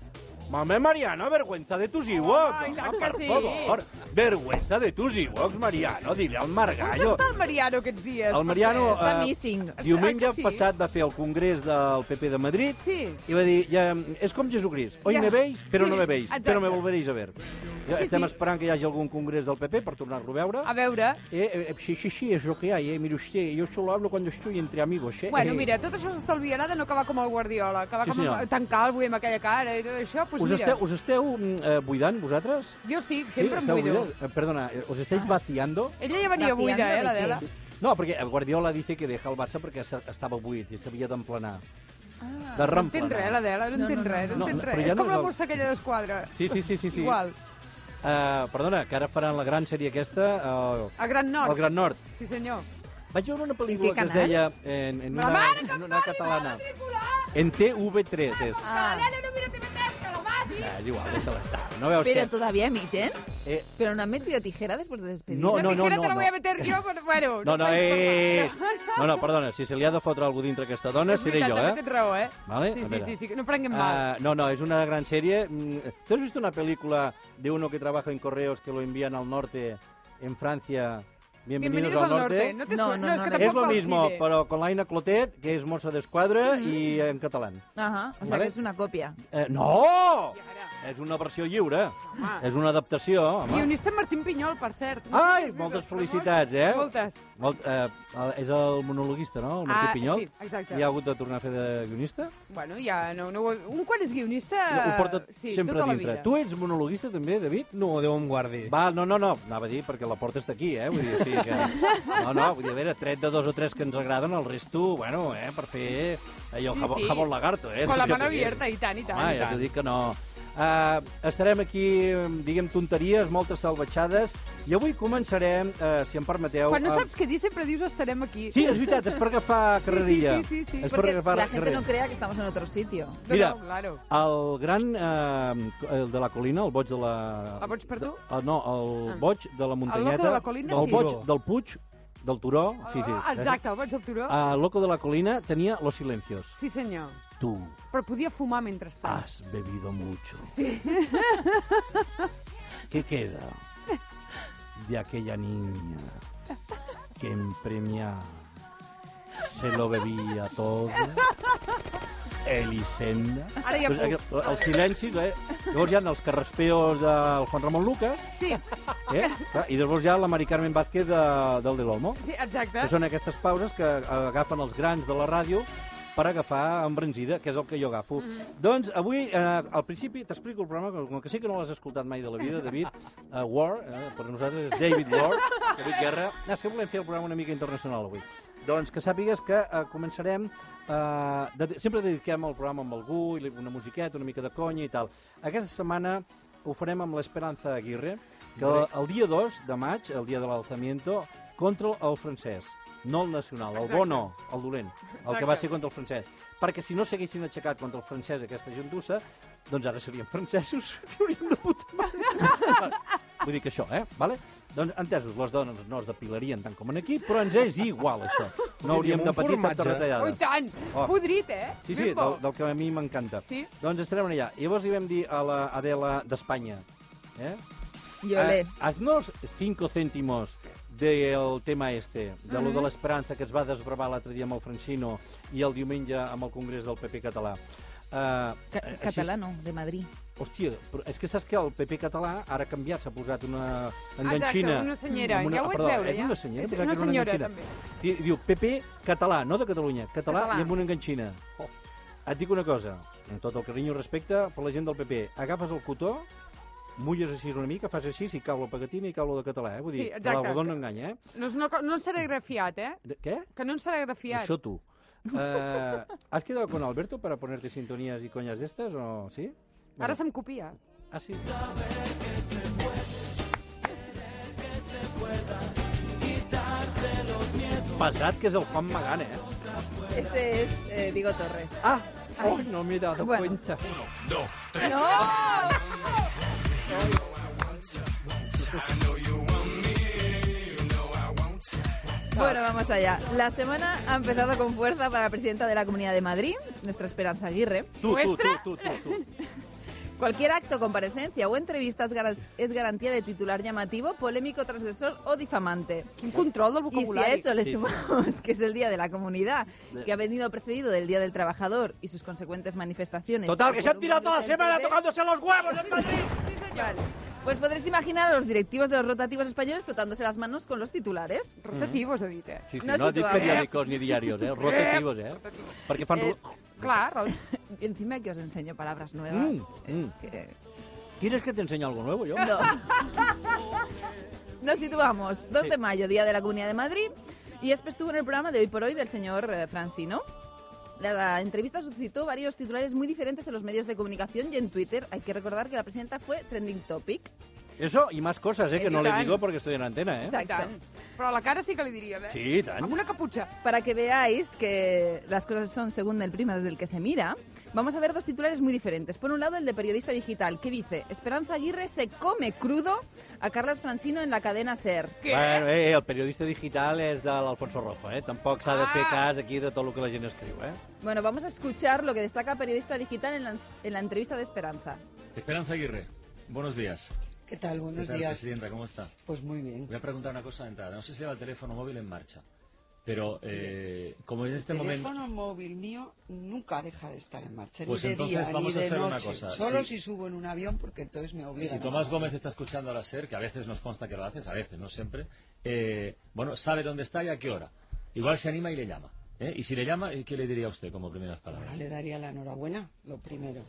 [SPEAKER 2] Mamá Mariano, vergüenza de tus Ewoks.
[SPEAKER 3] Ai,
[SPEAKER 2] home,
[SPEAKER 3] tant que
[SPEAKER 2] per
[SPEAKER 3] sí.
[SPEAKER 2] favor. Vergüenza de tus Ewoks, Mariano. Dile al
[SPEAKER 3] On
[SPEAKER 2] Margallo.
[SPEAKER 3] està el Mariano aquests dies?
[SPEAKER 2] El Mariano
[SPEAKER 5] Està
[SPEAKER 2] eh,
[SPEAKER 5] missing.
[SPEAKER 2] diumenge
[SPEAKER 3] Ah, que sí?
[SPEAKER 2] passat va fer el congrés del PP de Madrid
[SPEAKER 3] Sí.
[SPEAKER 2] i va dir, ja, és com Jesucrist, oi
[SPEAKER 3] Ja.
[SPEAKER 2] me veis, però
[SPEAKER 3] Sí,
[SPEAKER 2] no me veis,
[SPEAKER 3] exacte.
[SPEAKER 2] però me volveréis a veure. Ja
[SPEAKER 3] Sí,
[SPEAKER 2] estem
[SPEAKER 3] sí.
[SPEAKER 2] esperant que hi hagi algun congrés del PP per tornar-lo a veure.
[SPEAKER 3] A veure...
[SPEAKER 2] Eh, eh, sí, sí, sí, es lo que hay, eh. Mire usted, yo solo hablo cuando estoy entre amigos, eh.
[SPEAKER 3] Bueno,
[SPEAKER 2] Eh,
[SPEAKER 3] mira, tot això s'estalviarà de no acabar com el Guardiola, acabar
[SPEAKER 2] Sí,
[SPEAKER 3] com
[SPEAKER 2] senyor.
[SPEAKER 3] el... tancar el amb aquella cara i tot això, doncs
[SPEAKER 2] Us
[SPEAKER 3] mira,
[SPEAKER 2] esteu, us esteu mm, eh, buidant, vosaltres?
[SPEAKER 3] jo sí, sempre em
[SPEAKER 2] esteu
[SPEAKER 3] buido. Ah.
[SPEAKER 2] buidant? Eh, Perdona, eh, us esteu vaciando?
[SPEAKER 3] Ella ja venia
[SPEAKER 5] Vaciando
[SPEAKER 3] buida, eh,
[SPEAKER 5] de
[SPEAKER 3] l'Adela?
[SPEAKER 5] què?
[SPEAKER 2] No, perquè el Guardiola dice que deja el Barça perquè se- estava buit i s'havia d'emplenar. Ah, de
[SPEAKER 3] No entén res,
[SPEAKER 2] reemplenar.
[SPEAKER 3] l'Adela, no
[SPEAKER 5] No,
[SPEAKER 3] entén
[SPEAKER 5] no, no,
[SPEAKER 3] res, no
[SPEAKER 2] no.
[SPEAKER 3] entén
[SPEAKER 2] No,
[SPEAKER 3] res.
[SPEAKER 2] però ja
[SPEAKER 3] És
[SPEAKER 2] no
[SPEAKER 3] com
[SPEAKER 2] és
[SPEAKER 3] la
[SPEAKER 2] el-
[SPEAKER 3] bossa aquella d'esquadra.
[SPEAKER 2] Sí, sí, sí, sí. sí.
[SPEAKER 3] Igual,
[SPEAKER 2] Uh, perdona, que ara faran la gran sèrie aquesta, uh,
[SPEAKER 3] a Gran
[SPEAKER 2] el
[SPEAKER 3] Nord.
[SPEAKER 2] Gran Nord.
[SPEAKER 3] Sí, senyor.
[SPEAKER 2] Vaig veure una pel·lícula que es
[SPEAKER 5] canal?
[SPEAKER 2] deia eh, en, en
[SPEAKER 3] La
[SPEAKER 2] una,
[SPEAKER 3] mare que
[SPEAKER 2] en
[SPEAKER 3] em
[SPEAKER 2] una
[SPEAKER 3] pari,
[SPEAKER 2] catalana.
[SPEAKER 3] va matricular!
[SPEAKER 2] En TV3 és.
[SPEAKER 3] Que l'Adela no mira TV3, que la mati!
[SPEAKER 2] Ah, és igual, deixa-la estar. No veus
[SPEAKER 5] Pero
[SPEAKER 2] que...
[SPEAKER 5] todavía emiten.
[SPEAKER 2] Eh,
[SPEAKER 5] Pero no han metido tijera después de despedir.
[SPEAKER 2] Oh, No,
[SPEAKER 3] La
[SPEAKER 2] no, no,
[SPEAKER 3] tijera te
[SPEAKER 2] no,
[SPEAKER 3] la voy a
[SPEAKER 2] no.
[SPEAKER 3] meter yo, però bueno...
[SPEAKER 2] no, no,
[SPEAKER 3] faig
[SPEAKER 2] eh, eh, eh.
[SPEAKER 3] parlar.
[SPEAKER 2] no, no, perdona, si se li ha de fotre algú dintre aquesta dona,
[SPEAKER 3] És
[SPEAKER 2] seré
[SPEAKER 3] veritat,
[SPEAKER 2] jo,
[SPEAKER 3] també
[SPEAKER 2] eh?
[SPEAKER 3] Tens raó, eh?
[SPEAKER 2] Vale,
[SPEAKER 3] Sí,
[SPEAKER 2] a
[SPEAKER 3] sí,
[SPEAKER 2] veure.
[SPEAKER 3] sí, sí, que no prenguem mal.
[SPEAKER 2] Ah, no, no, es una gran serie. Mm, ¿Tú has visto una película de uno que trabaja en correos que lo envían al norte, en Francia? Bienvenidos,
[SPEAKER 3] Bienvenidos al norte.
[SPEAKER 2] norte.
[SPEAKER 3] No, te
[SPEAKER 5] No,
[SPEAKER 3] suena-
[SPEAKER 5] no,
[SPEAKER 3] no, és
[SPEAKER 5] no,
[SPEAKER 3] que
[SPEAKER 5] no.
[SPEAKER 2] Es
[SPEAKER 3] tampoc
[SPEAKER 2] lo
[SPEAKER 3] va al
[SPEAKER 2] mismo,
[SPEAKER 3] cine.
[SPEAKER 2] pero con Laina Clotet, que es moza de escuadra, y en catalán.
[SPEAKER 5] Ajá, o sea
[SPEAKER 2] Vale.
[SPEAKER 5] que es una copia.
[SPEAKER 2] Eh, no!
[SPEAKER 3] I ara?
[SPEAKER 2] És una versió lliure.
[SPEAKER 3] Home.
[SPEAKER 2] És una adaptació, home.
[SPEAKER 3] I on està Martín Pinyol, per cert.
[SPEAKER 2] Ai, moltes felicitats, eh?
[SPEAKER 3] Moltes.
[SPEAKER 2] Molt, eh, és el monologuista, no? El Martí
[SPEAKER 3] Ah,
[SPEAKER 2] Pinyol.
[SPEAKER 3] sí, exacte.
[SPEAKER 2] I ha hagut de tornar a fer de guionista?
[SPEAKER 3] Bueno, ja, no, no, ho- un quan és guionista...
[SPEAKER 2] Ho porta
[SPEAKER 3] sí,
[SPEAKER 2] sempre
[SPEAKER 3] tota la
[SPEAKER 2] dintre.
[SPEAKER 3] vida.
[SPEAKER 2] Tu ets monologuista també, David?
[SPEAKER 7] No, Déu em guardi.
[SPEAKER 2] Va, no, no, no, anava a dir perquè la porta està aquí, eh? Vull dir, sí que... No, no, vull dir, a veure, tret de dos o tres que ens agraden, el resto, bueno, eh, per fer allò,
[SPEAKER 3] Sí,
[SPEAKER 2] jabón,
[SPEAKER 3] sí.
[SPEAKER 2] jabón lagarto, eh?
[SPEAKER 3] Con la
[SPEAKER 2] Jo
[SPEAKER 3] mano
[SPEAKER 2] què sé.
[SPEAKER 3] abierta, i tant, i tant.
[SPEAKER 2] Home,
[SPEAKER 3] i
[SPEAKER 2] ja t'ho
[SPEAKER 3] tant.
[SPEAKER 2] dic que no. Uh, estarem aquí, eh, diguem, tonteries, moltes salvatjades, i avui començarem, uh, si em permeteu...
[SPEAKER 3] Quan no
[SPEAKER 2] amb-
[SPEAKER 3] saps què dir, sempre dius estarem aquí.
[SPEAKER 2] Sí, és veritat, és per agafar carrerilla.
[SPEAKER 3] sí, sí, sí,
[SPEAKER 2] És per
[SPEAKER 5] Porque
[SPEAKER 2] agafar
[SPEAKER 5] la gente
[SPEAKER 2] carrerilla.
[SPEAKER 5] no crea que estamos en otro sitio.
[SPEAKER 3] No,
[SPEAKER 2] Mira.
[SPEAKER 3] no, claro.
[SPEAKER 2] El gran, eh, el de la colina, el boig de la...
[SPEAKER 3] El boig per tu? Ah.
[SPEAKER 2] De, el, no, el boig de la muntanyeta.
[SPEAKER 3] loco de la colina,
[SPEAKER 2] El
[SPEAKER 3] sí.
[SPEAKER 2] boig del Puig, del Turó. Sí, sí.
[SPEAKER 3] Ah, Exacte, el vaig del turó.
[SPEAKER 2] El loco de la colina tenia los silencios.
[SPEAKER 3] Sí, senyor.
[SPEAKER 2] Tu
[SPEAKER 3] Però podia fumar mentrestant.
[SPEAKER 2] has bebido mucho.
[SPEAKER 3] Sí.
[SPEAKER 2] ¿Qué queda de aquella niña que en premia se lo bebía todo? Elisenda.
[SPEAKER 3] Ara ja
[SPEAKER 2] Doncs
[SPEAKER 3] puc.
[SPEAKER 2] aquest- els silencis, eh? Llavors hi ha els carraspeos del Juan Ramon Lucas,
[SPEAKER 3] Sí,
[SPEAKER 2] eh? Clar, i després hi ha la Mari Carmen Vázquez de, del De l'Olmo,
[SPEAKER 3] sí, exacte.
[SPEAKER 2] que són aquestes pauses que agafen els grans de la ràdio per agafar embranzida, que és el que jo agafo. Doncs avui, eh, al principi, t'explico el programa, com que sé que no l'has escoltat mai de la vida, David, eh, War, eh, per nosaltres és David War, David Guerra. Ah, És que volem fer el programa una mica internacional avui. Doncs que sàpigues que eh, començarem... Eh, de, sempre dediquem el programa amb algú, i li- una musiqueta, una mica de conya i tal. Aquesta setmana ho farem amb l'Esperanza Aguirre, que el, el dia 2 de maig, el dia de l'alzamiento, contra el francès, no el nacional, el
[SPEAKER 3] Exacte.
[SPEAKER 2] bo no, el dolent, el que va
[SPEAKER 3] Exacte.
[SPEAKER 2] ser contra el francès. Perquè si no s'haguessin aixecat contra el francès aquesta gentussa, doncs ara serien francesos que haurien de puta mare. Vull dir que això, eh? Vale? Doncs, entesos, les dones no es depilarien tant com en aquí, però ens és igual, això. No hauríem
[SPEAKER 7] amb
[SPEAKER 2] de
[SPEAKER 7] un
[SPEAKER 2] patir cap
[SPEAKER 7] formatge.
[SPEAKER 2] de retallada.
[SPEAKER 3] Ui, tant!
[SPEAKER 2] Oh.
[SPEAKER 3] Podrit, eh?
[SPEAKER 2] Sí, sí,
[SPEAKER 3] Ben bo.
[SPEAKER 2] del, del que a mi m'encanta.
[SPEAKER 3] Sí.
[SPEAKER 2] Doncs estarem allà. I llavors li vam dir a la Adela d'Espanya, eh?
[SPEAKER 5] Yo
[SPEAKER 2] Ah,
[SPEAKER 5] le...
[SPEAKER 2] Haznos 5 céntimos del tema este, de
[SPEAKER 3] Mm-hmm.
[SPEAKER 2] lo de l'esperança que es va desbravar l'altre dia amb el Francino i el diumenge amb el Congrés del PP català. Uh,
[SPEAKER 5] Ca- catalano, de Madrid.
[SPEAKER 2] Hòstia, però és que saps que el PP català ara ha canviat, s'ha posat una enganxina.
[SPEAKER 3] Exacte, una senyera.
[SPEAKER 2] amb
[SPEAKER 3] Ja ho vaig
[SPEAKER 2] perdó,
[SPEAKER 3] veure,
[SPEAKER 2] és
[SPEAKER 3] ja.
[SPEAKER 2] una senyera?
[SPEAKER 3] És
[SPEAKER 2] Pensava que
[SPEAKER 3] una
[SPEAKER 2] era
[SPEAKER 3] senyora,
[SPEAKER 2] enganxina. Di- Diu PP català, no de Catalunya, català,
[SPEAKER 3] Català.
[SPEAKER 2] i amb una enganxina. Oh. Et dic una cosa, amb tot el carinyo i respecte per la gent del PP. Agafes el cotó, mulles així una mica, fas així, si cau la pagatina i cau la de català, eh? Vull
[SPEAKER 3] Sí,
[SPEAKER 2] dir,
[SPEAKER 3] exacte.
[SPEAKER 2] la no enganya, eh?
[SPEAKER 3] No, és una co- no en seré grafiat, eh?
[SPEAKER 2] De, què?
[SPEAKER 3] Que no en seré grafiat.
[SPEAKER 2] Això tu. Uh, ¿Has quedado con Alberto para ponerte sintonías y coñas de estas o sí? Bueno.
[SPEAKER 3] Ara se'm copia.
[SPEAKER 2] Ah, sí. Pesat que és el Juan Magán, eh?
[SPEAKER 5] Este es Diego Torres.
[SPEAKER 2] Ah, oh, no m'he dado
[SPEAKER 5] Bueno.
[SPEAKER 2] cuenta.
[SPEAKER 3] No!
[SPEAKER 5] Bueno, vamos allá. La semana ha empezado con fuerza para la presidenta de la Comunidad de Madrid, nuestra Esperanza Aguirre,
[SPEAKER 2] Tu, tu, tu,
[SPEAKER 3] Nuestra?
[SPEAKER 2] tu, tu, tu.
[SPEAKER 5] Cualquier acto, comparecencia o entrevista es garan- es garantía de titular llamativo, polémico, transgresor o difamante.
[SPEAKER 3] Quin control del
[SPEAKER 5] Y si a
[SPEAKER 3] vocabulari.
[SPEAKER 5] eso le
[SPEAKER 2] Sí, Eh. sí.
[SPEAKER 5] sumamos que es el Día de la Comunidad, que ha venido precedido del Día del Trabajador y sus consecuentes manifestaciones.
[SPEAKER 2] Total, que se han tirado toda la semana
[SPEAKER 5] tocando
[SPEAKER 2] tocándose los huevos.
[SPEAKER 5] Vale.
[SPEAKER 2] mm.
[SPEAKER 5] Pues podréis imaginar a los directivos de los rotativos españoles frotándose las manos con los titulares.
[SPEAKER 3] Rotativos, he dit, eh?
[SPEAKER 2] Sí, sí,
[SPEAKER 5] No
[SPEAKER 2] no, dic
[SPEAKER 5] situem.
[SPEAKER 2] periòdicos ni diarios, eh? Rotatius, eh? Perquè fan...
[SPEAKER 5] Eh,
[SPEAKER 2] ru-
[SPEAKER 3] Clar, raons.
[SPEAKER 5] Y encima que os enseño palabras nuevas.
[SPEAKER 2] Mm,
[SPEAKER 5] es
[SPEAKER 2] mm.
[SPEAKER 5] que-
[SPEAKER 2] ¿Quieres que te enseñe algo nuevo, yo?
[SPEAKER 5] No. Nos situamos. 2
[SPEAKER 2] Sí.
[SPEAKER 5] de mayo, Día de la Comunidad de Madrid. Y Espe estuvo en el programa de hoy por hoy del señor eh, Francino. La, la entrevista suscitó varios titulares muy diferentes en los medios de comunicación y en Twitter. Hay que recordar que la presidenta fue trending topic.
[SPEAKER 2] Eso y más cosas, eh? Que
[SPEAKER 5] Es
[SPEAKER 2] no le
[SPEAKER 3] tan-
[SPEAKER 2] digo porque estoy en antena, eh?
[SPEAKER 5] Exacto.
[SPEAKER 3] I tant. Però a la cara sí que li diria, eh?
[SPEAKER 2] Sí, i tant.
[SPEAKER 3] Amb una caputxa.
[SPEAKER 5] Para que veáis que las cosas son según el prisma desde el que se mira, vamos a ver dos titulares muy diferentes. Por un lado, el de Periodista Digital, que dice, Esperanza Aguirre se come crudo a Carles Francino en la cadena SER.
[SPEAKER 3] Què?
[SPEAKER 2] Bueno, eh, el periodista digital és de l'Alfonso Rojo, eh? Tampoc s'ha de fer
[SPEAKER 3] Ah.
[SPEAKER 2] cas aquí de tot el que la gent escriu, eh?
[SPEAKER 5] Bueno, vamos a escuchar lo que destaca Periodista Digital en la, en la entrevista de Esperanza.
[SPEAKER 7] Esperanza Aguirre, buenos días.
[SPEAKER 8] ¿Qué tal? Buenos
[SPEAKER 7] ¿Qué tal,
[SPEAKER 8] días.
[SPEAKER 7] Presidenta, ¿cómo está?
[SPEAKER 8] Pues muy bien.
[SPEAKER 7] Voy a preguntar una cosa de entrada. No sé si lleva el teléfono móvil en marcha, pero eh, como en este
[SPEAKER 8] el
[SPEAKER 7] momento...
[SPEAKER 8] teléfono móvil mío nunca deja de estar en marcha.
[SPEAKER 7] Pues
[SPEAKER 8] ni de
[SPEAKER 7] entonces
[SPEAKER 8] día,
[SPEAKER 7] vamos
[SPEAKER 8] ni
[SPEAKER 7] a
[SPEAKER 8] de
[SPEAKER 7] hacer una
[SPEAKER 8] noche.
[SPEAKER 7] cosa,
[SPEAKER 8] Solo
[SPEAKER 7] sí.
[SPEAKER 8] si subo en un avión, porque entonces me obligan.
[SPEAKER 7] Si
[SPEAKER 8] a
[SPEAKER 7] Tomás
[SPEAKER 8] bajar.
[SPEAKER 7] Gómez está escuchando a la SER, que a veces nos consta que lo haces, a veces, no siempre, eh, bueno, sabe dónde está y a qué hora. Igual se anima y le llama. ¿eh? Y si le llama, eh, ¿qué le diría a usted como primeras palabras?
[SPEAKER 8] Le daría la enhorabuena, lo primero.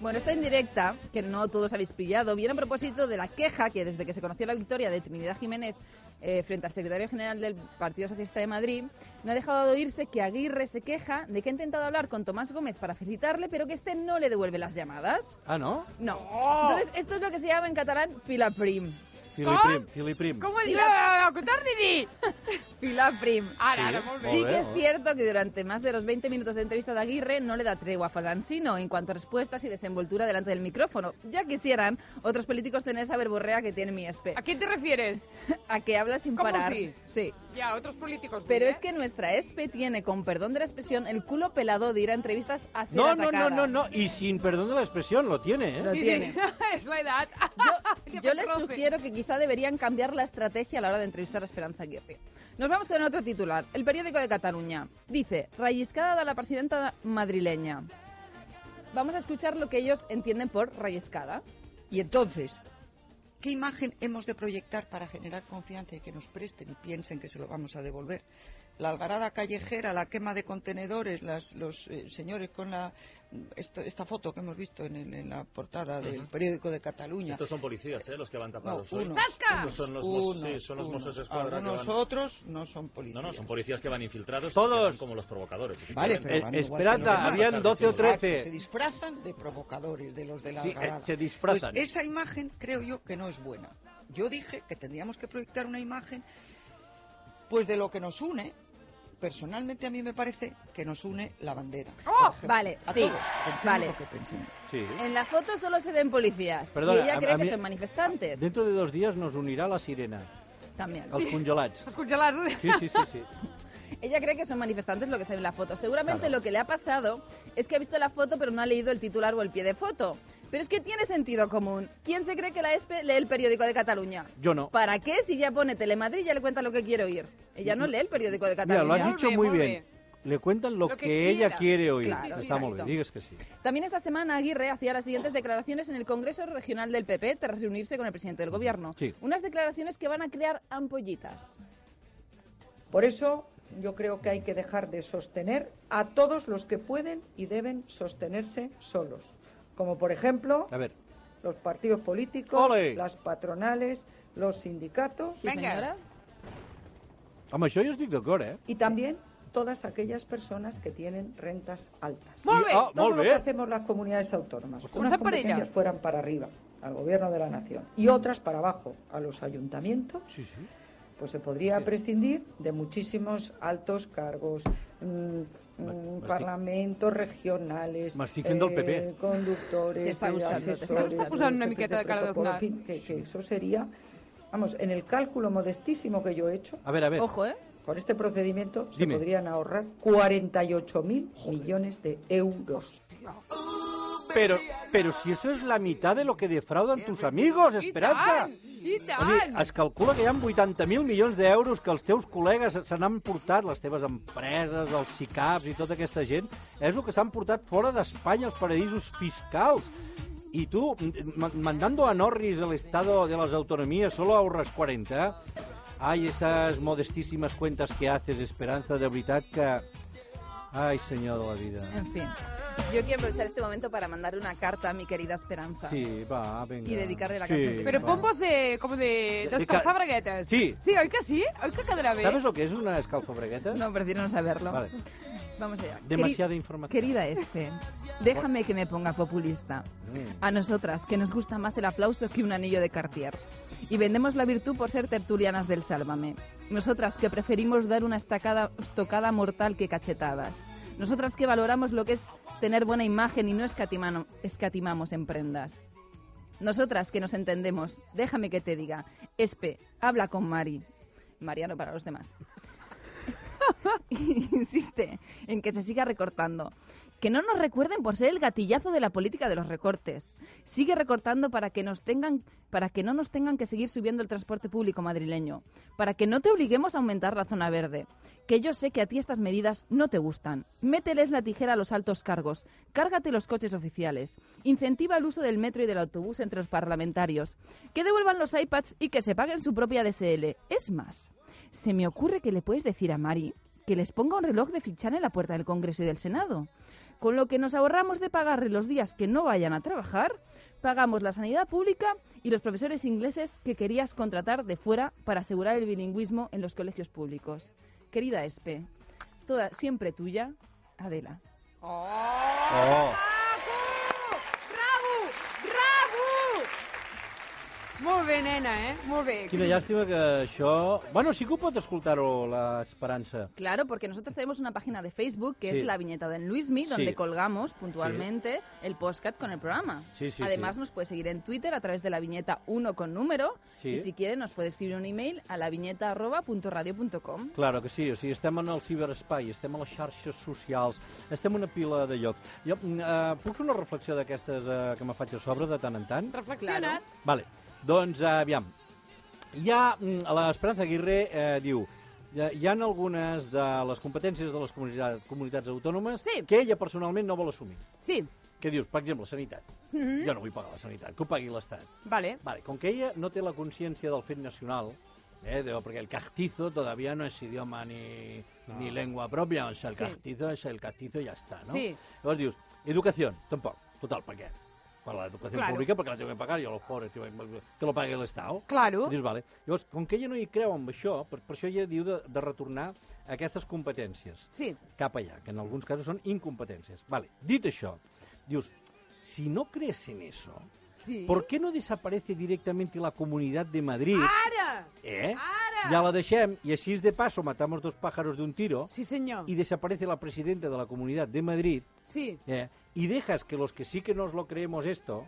[SPEAKER 5] Bueno, esta indirecta, que no todos habéis pillado, viene a propósito de la queja que desde que se conoció la victoria de Trinidad Jiménez eh, frente al secretario general del Partido Socialista de Madrid, no ha dejado de oírse que Aguirre se queja de que ha intentado hablar con Tomás Gómez para felicitarle, pero que este no le devuelve las llamadas.
[SPEAKER 2] Ah, no?
[SPEAKER 5] No.
[SPEAKER 3] Oh.
[SPEAKER 2] Doncs
[SPEAKER 5] Entonces, esto es lo que se llama en catalán filaprim.
[SPEAKER 2] Filiprim, Filiprim.
[SPEAKER 3] Com ho diu? Eh, que Torni a dir!
[SPEAKER 5] Filaprim.
[SPEAKER 3] Ara, ara, molt bé.
[SPEAKER 5] Sí
[SPEAKER 2] Joder,
[SPEAKER 5] que es
[SPEAKER 2] joder.
[SPEAKER 5] cierto que durante más de los 20 minutos de entrevista de Aguirre no le da tregua a Francino en cuanto a respuestas y desenvoltura delante del micrófono. Ya quisieran otros políticos tener esa verborrea que tiene mi E espe,
[SPEAKER 3] ¿A qué te refieres?
[SPEAKER 5] a que habla sin
[SPEAKER 3] ¿Cómo
[SPEAKER 5] parar.
[SPEAKER 3] sí?
[SPEAKER 5] Sí.
[SPEAKER 3] Ya, otros políticos.
[SPEAKER 5] Pero
[SPEAKER 3] vull,
[SPEAKER 5] es que nuestra espe tiene, con perdón de la expresión, el culo pelado de ir a entrevistas a ser
[SPEAKER 2] No, no, no,
[SPEAKER 5] atacada.
[SPEAKER 2] no, no. Y sin perdón de la expresión, lo tiene,
[SPEAKER 5] Lo
[SPEAKER 2] ¿eh?
[SPEAKER 3] Sí,
[SPEAKER 5] tiene.
[SPEAKER 3] sí, es la Ah, edad.
[SPEAKER 5] Yo,
[SPEAKER 3] Ya
[SPEAKER 5] yo
[SPEAKER 3] me
[SPEAKER 5] les
[SPEAKER 3] roce.
[SPEAKER 5] sugiero que quizá deberían cambiar la estrategia a la hora de entrevistar a Esperanza Aguirre. Nos vamos con otro titular. El periódico de Cataluña dice, rayiscada de la presidenta madrileña. Vamos a escuchar lo que ellos entienden por rayiscada.
[SPEAKER 8] Y entonces, ¿qué imagen hemos de proyectar para generar confianza y que nos presten y piensen que se lo vamos a devolver? La algarada callejera, la quema de contenedores, las, los eh, señores con la, esto- esta foto que hemos visto en, el- en la portada del periódico de Cataluña.
[SPEAKER 7] Estos son policías, ¿eh? Los que van
[SPEAKER 8] No,
[SPEAKER 7] tapados hoy.
[SPEAKER 8] unos,
[SPEAKER 3] ¡Tasca!
[SPEAKER 8] unos,
[SPEAKER 7] Son los mos- sí,
[SPEAKER 8] unos,
[SPEAKER 7] son los
[SPEAKER 8] unos.
[SPEAKER 7] Mossos Escuadra que
[SPEAKER 8] Algunos
[SPEAKER 7] van-
[SPEAKER 8] otros no son policías.
[SPEAKER 7] No, no, son policías que van infiltrados. y
[SPEAKER 2] Todos.
[SPEAKER 7] que van como los provocadores.
[SPEAKER 8] Vale,
[SPEAKER 7] efectivamente.
[SPEAKER 8] pero
[SPEAKER 2] Eh,
[SPEAKER 8] van igual que
[SPEAKER 2] Esperanza,
[SPEAKER 8] los demás.
[SPEAKER 2] habían 12 o
[SPEAKER 8] Exacto,
[SPEAKER 9] Ah,
[SPEAKER 2] 13.
[SPEAKER 8] Se disfrazan de provocadores, de los de la
[SPEAKER 2] Sí,
[SPEAKER 8] algarada.
[SPEAKER 2] eh, se disfrazan.
[SPEAKER 8] Pues esa imagen creo yo que no es buena. Yo dije que tendríamos que proyectar una imagen, pues de lo que nos une. Personalmente a mí me parece que nos une la bandera. por
[SPEAKER 5] ¡Oh!
[SPEAKER 8] ejemplo.
[SPEAKER 5] Vale,
[SPEAKER 8] A
[SPEAKER 5] sí,
[SPEAKER 8] todos, pensemos
[SPEAKER 5] vale.
[SPEAKER 8] lo que pensemos.
[SPEAKER 2] Sí.
[SPEAKER 5] En la foto solo se ven policías
[SPEAKER 2] Perdona,
[SPEAKER 5] y ella
[SPEAKER 2] a-
[SPEAKER 5] cree
[SPEAKER 2] a
[SPEAKER 5] que
[SPEAKER 2] mí-
[SPEAKER 5] son manifestantes.
[SPEAKER 2] Dentro de dos dies nos unirà la sirena,
[SPEAKER 5] También.
[SPEAKER 2] els congelats.
[SPEAKER 3] Los congelados.
[SPEAKER 2] Sí, sí, sí, sí.
[SPEAKER 5] Ella cree que son manifestantes lo que se ve en la foto. Seguramente lo que le ha pasado es que ha visto la foto pero no ha leído el titular o el pie de foto. Pero es que tiene sentido común. ¿Quién se cree que la ESPE lee el periódico de Cataluña?
[SPEAKER 2] Yo no.
[SPEAKER 5] ¿Para qué si ya pone Telemadrid y ya le cuenta lo que quiere oír? Ella no lee el periódico de
[SPEAKER 2] Mira, lo
[SPEAKER 5] Cataluña.
[SPEAKER 2] has
[SPEAKER 3] Molt
[SPEAKER 2] dicho
[SPEAKER 3] bé,
[SPEAKER 2] muy
[SPEAKER 3] molt
[SPEAKER 2] bien. Le cuentan lo,
[SPEAKER 3] Lo que
[SPEAKER 2] que ella
[SPEAKER 3] quiera.
[SPEAKER 2] quiere oír.
[SPEAKER 5] Claro,
[SPEAKER 2] Está muy
[SPEAKER 5] exacto.
[SPEAKER 2] bien, digues que sí.
[SPEAKER 5] También esta semana Aguirre hacía las siguientes declaraciones en el Congreso Regional del PP tras reunirse con el presidente del Gobierno.
[SPEAKER 2] Sí.
[SPEAKER 5] Unas declaraciones que van a crear ampollitas.
[SPEAKER 9] Por eso yo creo que hay que dejar de sostener a todos los que pueden y deben sostenerse solos, como por ejemplo
[SPEAKER 2] A ver,
[SPEAKER 9] los partidos políticos,
[SPEAKER 2] ¡Ole!
[SPEAKER 9] las patronales, los sindicatos
[SPEAKER 5] Sí,
[SPEAKER 3] Venga.
[SPEAKER 5] señora.
[SPEAKER 2] amb això jo estic d'acord, eh?
[SPEAKER 9] y también todas aquellas personas que tienen rentas altas.
[SPEAKER 3] Molt bé.
[SPEAKER 2] Ah,
[SPEAKER 9] Todo
[SPEAKER 2] molt
[SPEAKER 9] lo que
[SPEAKER 2] bé.
[SPEAKER 9] hacemos las comunidades autónomas,
[SPEAKER 3] Ostras.
[SPEAKER 9] unas
[SPEAKER 3] Comencem per ella.
[SPEAKER 9] competencias fueran para arriba, al gobierno de la nación, y otras para abajo, a los ayuntamientos,
[SPEAKER 2] Sí, sí.
[SPEAKER 9] pues se podría prescindir de muchísimos altos cargos, mm, mm,
[SPEAKER 2] Ma- mastic-
[SPEAKER 9] parlamentos regionales, eh,
[SPEAKER 2] Mastifiendo el PP.
[SPEAKER 9] conductores,
[SPEAKER 5] Te está
[SPEAKER 9] eh,
[SPEAKER 5] usando, te está
[SPEAKER 9] asesores,
[SPEAKER 3] usando. Está usando una
[SPEAKER 9] jefes
[SPEAKER 3] miqueta de cara de
[SPEAKER 9] protocolo,
[SPEAKER 3] Aznar.
[SPEAKER 9] en fin, que, que eso sería, vamos, en el cálculo modestísimo que yo he hecho,
[SPEAKER 2] A veure, a veure.
[SPEAKER 5] Ojo, ¿eh?
[SPEAKER 9] con este procedimiento
[SPEAKER 2] Dime.
[SPEAKER 9] se podrían ahorrar 48.000 millones de euros.
[SPEAKER 2] Pero, pero si eso es la mitad de lo que defraudan tus amigos,
[SPEAKER 3] I
[SPEAKER 2] Esperanza.
[SPEAKER 3] tant! I
[SPEAKER 2] O sigui,
[SPEAKER 3] tant!
[SPEAKER 2] es calcula que hi ha 80.000 milions d'euros que els teus col·legues se n'han portat, les teves empreses, els SICAPs i tota aquesta gent, és el que s'han portat fora d'Espanya, els paradisos fiscals. Y tú, m- m- mandando a Norris el estado de las autonomías, solo ahorras 40. Ay, esas modestísimas cuentas que haces, Esperanza, de veritat que... Ay, señor de la vida.
[SPEAKER 5] En fin. Yo quiero aprovechar este momento para mandarle una carta a mi querida Esperanza.
[SPEAKER 2] Sí, va, venga.
[SPEAKER 5] Y dedicarle la
[SPEAKER 2] Sí,
[SPEAKER 5] canción que se
[SPEAKER 3] Però
[SPEAKER 2] va.
[SPEAKER 3] pompos de... com de...
[SPEAKER 2] De- de ca-
[SPEAKER 3] d'escalfar braguetes.
[SPEAKER 2] Sí.
[SPEAKER 3] Sí, oi que sí? Oi que quedarà bé?
[SPEAKER 2] ¿Sabes lo que es una escalfabregueta?
[SPEAKER 5] No, prefiero no saberlo.
[SPEAKER 2] Vale.
[SPEAKER 5] Vamos allá. Queri-
[SPEAKER 2] Demasiada información.
[SPEAKER 5] Querida Espe, déjame que me ponga populista. A nosotras, que nos gusta más el aplauso que un anillo de Cartier. Y vendemos la virtud por ser tertulianas del Sálvame. Nosotras, que preferimos dar una estacada, estocada mortal que cachetadas. Nosotras, que valoramos lo que es tener buena imagen y no escatimano- escatimamos en prendas. Nosotras, que nos entendemos, déjame que te diga. Espe, habla con Mari. Mariano para los demás. insiste en que se siga recortando. Que no nos recuerden por ser el gatillazo de la política de los recortes. Sigue recortando para que nos tengan, para que no nos tengan que seguir subiendo el transporte público madrileño, para que no te obliguemos a aumentar la zona verde. Que yo sé que a ti estas medidas no te gustan. Mételes la tijera a los altos cargos, cárgate los coches oficiales, incentiva el uso del metro y del autobús entre los parlamentarios, que devuelvan los iPads y que se paguen su propia DSL. Es más, se me ocurre que le puedes decir a Mari que les ponga un reloj de fichar en la puerta del Congreso y del Senado. Con lo que nos ahorramos de pagarle los días que no vayan a trabajar, pagamos la sanidad pública y los profesores ingleses que querías contratar de fuera para asegurar el bilingüismo en los colegios públicos. Querida Espe, toda siempre tuya, Adela.
[SPEAKER 2] Oh.
[SPEAKER 3] Bravo! Bravo! Molt bé, nena, eh? Molt bé.
[SPEAKER 2] Quina llàstima que això... Bueno, sí que ho pot escoltar-ho, l'Esperança.
[SPEAKER 5] Claro, porque nosotros tenemos una página de Facebook que
[SPEAKER 2] Sí.
[SPEAKER 5] es La Viñeta de Luismi, donde
[SPEAKER 2] Sí.
[SPEAKER 5] colgamos puntualmente el podcast con el programa.
[SPEAKER 2] Sí, sí,
[SPEAKER 5] Además,
[SPEAKER 2] sí.
[SPEAKER 5] nos puede seguir en Twitter a través de la viñeta 1 con número.
[SPEAKER 2] Sí.
[SPEAKER 5] Y si quiere, nos puede escribir un email a laviñeta.radio.com.
[SPEAKER 2] Claro que sí, o sigui, estem en el ciberespai, estem a les xarxes socials, estem en una pila de llocs. Jo, mm, eh, puc fer una reflexió d'aquestes eh, que me faig a sobre de tant en tant?
[SPEAKER 3] Reflexiona't.
[SPEAKER 2] Vale, doncs eh, aviam. Hi ha, mm, l'Esperanza Aguirre eh, diu, eh, hi han algunes de les competències de les comunitats, comunitats autònomes
[SPEAKER 3] Sí.
[SPEAKER 2] que ella personalment no vol assumir.
[SPEAKER 3] Sí,
[SPEAKER 2] Què dius? Per exemple, sanitat. Jo no vull pagar la sanitat, que ho pagui l'Estat.
[SPEAKER 3] vale.
[SPEAKER 2] Vale, com que ella no té la consciència del fet nacional, eh, de, porque el castizo todavía no es idioma ni, ni lengua propia, o sea, el
[SPEAKER 3] Sí.
[SPEAKER 2] castizo es el castizo i ja està, no?
[SPEAKER 3] Sí.
[SPEAKER 2] Llavors dius, educació, tampoc, total, per què? Per l'educació
[SPEAKER 3] Claro.
[SPEAKER 2] pública, perquè la tengo que pagar jo, los pobres, que, que lo pagui l'Estat.
[SPEAKER 3] Claro.
[SPEAKER 2] Dius, vale. Llavors, com que ella no hi creu amb això, per, per això ella diu de, de retornar aquestes competències
[SPEAKER 3] Sí,
[SPEAKER 2] cap allà, que en alguns casos són incompetències. Vale, dit això, dius, si no crees en eso,
[SPEAKER 3] sí.
[SPEAKER 2] ¿Por qué no desaparece directamente la Comunidad de Madrid?
[SPEAKER 3] Ara!
[SPEAKER 2] eh?
[SPEAKER 3] Ah, Ara!
[SPEAKER 2] Ja la deixem i així de paso matamos dos pájaros de un tiro
[SPEAKER 3] Sí, senyor.
[SPEAKER 2] y desaparece la presidenta de la Comunidad de Madrid
[SPEAKER 3] Sí.
[SPEAKER 2] eh? y dejas que los que sí que nos lo creemos esto,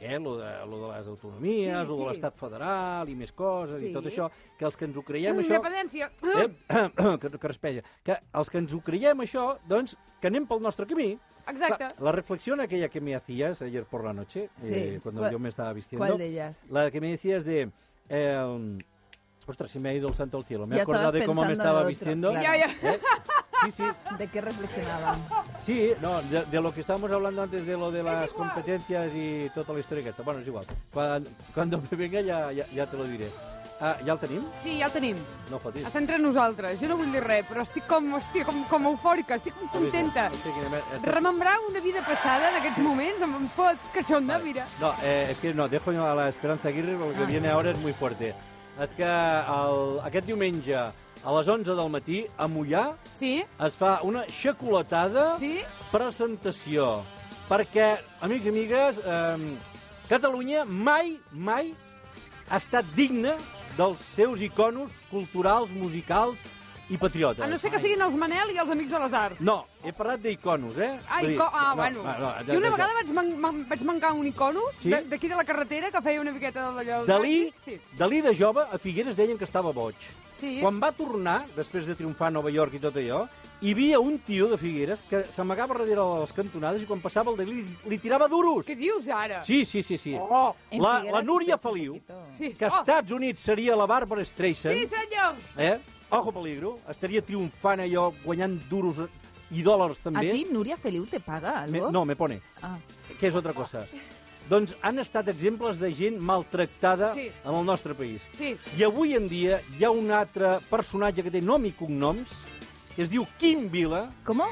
[SPEAKER 2] eh? lo, de, lo de les autonomies,
[SPEAKER 3] Sí,
[SPEAKER 2] lo de
[SPEAKER 3] sí.
[SPEAKER 2] l'estat federal i més coses
[SPEAKER 3] Sí.
[SPEAKER 2] i tot això, que els que ens ho creiem això...
[SPEAKER 3] Mm, Independència.
[SPEAKER 2] Eh? que, que respeja. Que els que ens ho creiem això, doncs, que anem pel nostre camí.
[SPEAKER 3] Exacte.
[SPEAKER 2] La, la reflexión aquella que me hacías ayer por la noche,
[SPEAKER 5] Sí.
[SPEAKER 2] eh, cuando
[SPEAKER 5] ¿Cuál-
[SPEAKER 2] yo me estaba vistiendo.
[SPEAKER 5] ¿Cuál de ellas?
[SPEAKER 2] La que me decías de... eh, ostras, se me ha ido el santo al cielo. Me he
[SPEAKER 5] Ya
[SPEAKER 2] acordado
[SPEAKER 5] estabas
[SPEAKER 2] de cómo me
[SPEAKER 5] pensando en
[SPEAKER 2] estaba
[SPEAKER 5] otro,
[SPEAKER 2] vistiendo.
[SPEAKER 5] claro.
[SPEAKER 3] Ja, ja.
[SPEAKER 2] ¿Eh? Sí, sí,
[SPEAKER 5] ¿De qué reflexionaban?
[SPEAKER 2] sí, no, de, de lo que estábamos hablando antes de lo de las competencias y toda la historia que está. Bueno, es igual. Cuando, cuando me venga ya, ya, ya te lo diré. Ah, ja el tenim?
[SPEAKER 3] Sí, ja el tenim.
[SPEAKER 2] No fotis.
[SPEAKER 3] Està entre nosaltres. Jo no vull dir res, però estic com, hòstia, com, com eufòrica, estic com contenta.
[SPEAKER 2] Hòstia, quina mer- està-
[SPEAKER 3] Remembrar una vida passada d'aquests moments em, em fot cachonda,
[SPEAKER 2] Vale.
[SPEAKER 3] mira.
[SPEAKER 2] No, eh, es que no, dejo a la Esperanza Aguirre perquè
[SPEAKER 5] Ah.
[SPEAKER 2] lo que viene ahora es muy fuerte. És que el, aquest diumenge a les 11 del matí a Mollà
[SPEAKER 3] Sí?
[SPEAKER 2] es fa una xocolatada
[SPEAKER 3] Sí?
[SPEAKER 2] presentació. Perquè, amics i amigues, eh, Catalunya mai, mai ha estat digna dels seus iconos culturals, musicals i patriotes.
[SPEAKER 3] A no ser que siguin els Manel i els Amics de les Arts.
[SPEAKER 2] No, he parlat d'iconos, eh?
[SPEAKER 3] Ah,
[SPEAKER 2] Vull dir,
[SPEAKER 3] ico... ah
[SPEAKER 2] no,
[SPEAKER 3] bueno.
[SPEAKER 2] va, no,
[SPEAKER 3] I una vegada vaig, man man- vaig mancar un icono
[SPEAKER 2] Sí?
[SPEAKER 3] de- d'aquí de la carretera que feia una miqueta d'allò...
[SPEAKER 2] Dalí,
[SPEAKER 3] Sí.
[SPEAKER 2] Dalí de jove a Figueres deien que estava boig.
[SPEAKER 3] Sí.
[SPEAKER 2] Quan va tornar, després de triomfar a Nova York i tot allò, hi havia un tio de Figueres que s'amagava darrere de les cantonades i quan passava el Dalí li, li tirava duros.
[SPEAKER 3] Què dius ara?
[SPEAKER 2] Sí, sí, sí, sí.
[SPEAKER 3] Oh,
[SPEAKER 5] En
[SPEAKER 2] La,
[SPEAKER 5] Figueres
[SPEAKER 2] la Núria
[SPEAKER 5] es pesa un
[SPEAKER 2] Feliu,
[SPEAKER 5] poquito.
[SPEAKER 3] sí.
[SPEAKER 2] que
[SPEAKER 3] oh,
[SPEAKER 2] als Estats Units seria la Barbara Streisand,
[SPEAKER 3] Sí, senyor.
[SPEAKER 2] eh? ojo peligro, estaria triomfant allò, guanyant duros i dòlars
[SPEAKER 5] ¿A
[SPEAKER 2] també.
[SPEAKER 5] ti Nuria Feliu te paga
[SPEAKER 2] Me,
[SPEAKER 5] algo?
[SPEAKER 2] no, me pone.
[SPEAKER 5] Ah.
[SPEAKER 2] que és altra cosa. Doncs han estat exemples de gent maltractada
[SPEAKER 3] Sí.
[SPEAKER 2] en el nostre país.
[SPEAKER 3] Sí.
[SPEAKER 2] I avui en dia hi ha un altre personatge que té nom i cognoms, que es diu Quim Vila,
[SPEAKER 5] ¿Cómo?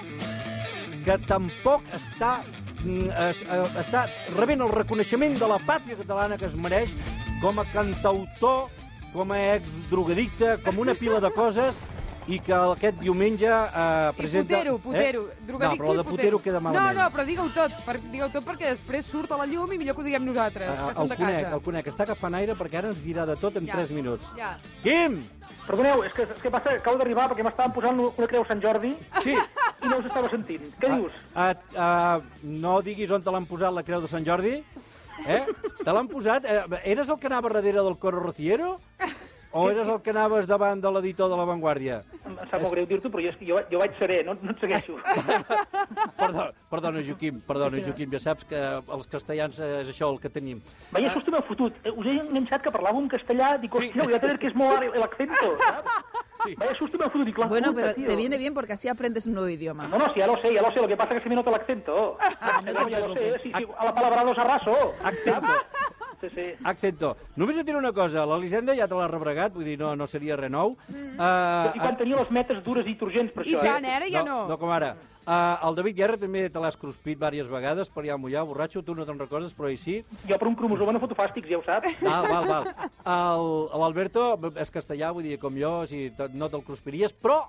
[SPEAKER 2] que tampoc està, mm, es, eh, està rebent el reconeixement de la pàtria catalana que es mereix com a cantautor, com a exdrogadicte, com una pila de coses, i que aquest diumenge eh, presenta...
[SPEAKER 3] I putero, putero.
[SPEAKER 2] Eh? No,
[SPEAKER 3] Drogadicte
[SPEAKER 2] però
[SPEAKER 3] i
[SPEAKER 2] de putero queda malament.
[SPEAKER 3] No, no, però digue-ho tot, per, digue tot perquè després surt a la llum i millor que ho diguem nosaltres,
[SPEAKER 2] Eh,
[SPEAKER 3] que som
[SPEAKER 2] el
[SPEAKER 3] de
[SPEAKER 2] conec,
[SPEAKER 3] casa.
[SPEAKER 2] el conec. Està agafant aire perquè ara ens dirà de tot en
[SPEAKER 3] Ja.
[SPEAKER 2] 3 minuts.
[SPEAKER 3] Ja.
[SPEAKER 2] Quim!
[SPEAKER 10] Perdoneu, és que, és que passa, acabo d'arribar perquè m'estaven posant una creu Sant Jordi
[SPEAKER 2] Sí.
[SPEAKER 10] i no us estava sentint. Què dius?
[SPEAKER 2] A, a, Ah, no diguis on te l'han posat la creu de Sant Jordi. Eh? Te l'han posat... Eh, eres el que anava darrere del Coro Rociero? O eres el que anaves davant de l'editor de La Vanguardia?
[SPEAKER 10] Em sap molt greu dir-t'ho, però jo, jo, jo vaig seré, no, no et segueixo.
[SPEAKER 2] Perdó, perdona, Joaquim, perdona, Joaquim, ja saps que els castellans eh, és això el que tenim.
[SPEAKER 10] Vaya, susto m'heu fotut. Eh, Us he enganxat que parlàveu en castellà, dic,
[SPEAKER 2] Ah. Sí.
[SPEAKER 10] hòstia, voy a tener que esmolar el acento, saps?
[SPEAKER 2] Sí.
[SPEAKER 10] Vaya, susto m'heu fotut. Dic, la
[SPEAKER 5] Bueno,
[SPEAKER 10] puta,
[SPEAKER 5] pero
[SPEAKER 10] tío.
[SPEAKER 5] te viene bien porque así aprendes un nuevo idioma.
[SPEAKER 10] No, no, sí, ya lo sé, ya lo sé, lo que pasa es que se me nota el acento.
[SPEAKER 5] Ah, no te
[SPEAKER 10] ya lo sé,
[SPEAKER 5] preocupes.
[SPEAKER 10] sí, sí, a la palabra dos arraso.
[SPEAKER 2] Accepto.
[SPEAKER 10] Sí, sí.
[SPEAKER 2] Accepto. Només et diré una cosa, l'Elisenda ja te l'ha rebregat, vull dir, no, no seria res nou. Mm.
[SPEAKER 10] I quan tenia les metes dures i turgents per
[SPEAKER 3] I
[SPEAKER 10] això,
[SPEAKER 3] tant,
[SPEAKER 10] eh?
[SPEAKER 3] eh, ara ja no.
[SPEAKER 2] Ah, No com ara. Uh, el David Guerra també te l'has cruspit diverses vegades per allà mullar, borratxo, tu no te'n recordes, però ell sí.
[SPEAKER 10] Jo per un cromosoma no foto fàstics, ja ho saps.
[SPEAKER 2] Val, Ah, val, val. El- L'Alberto és castellà, vull dir, com jo, o sigui, te- no te'l cruspiries, però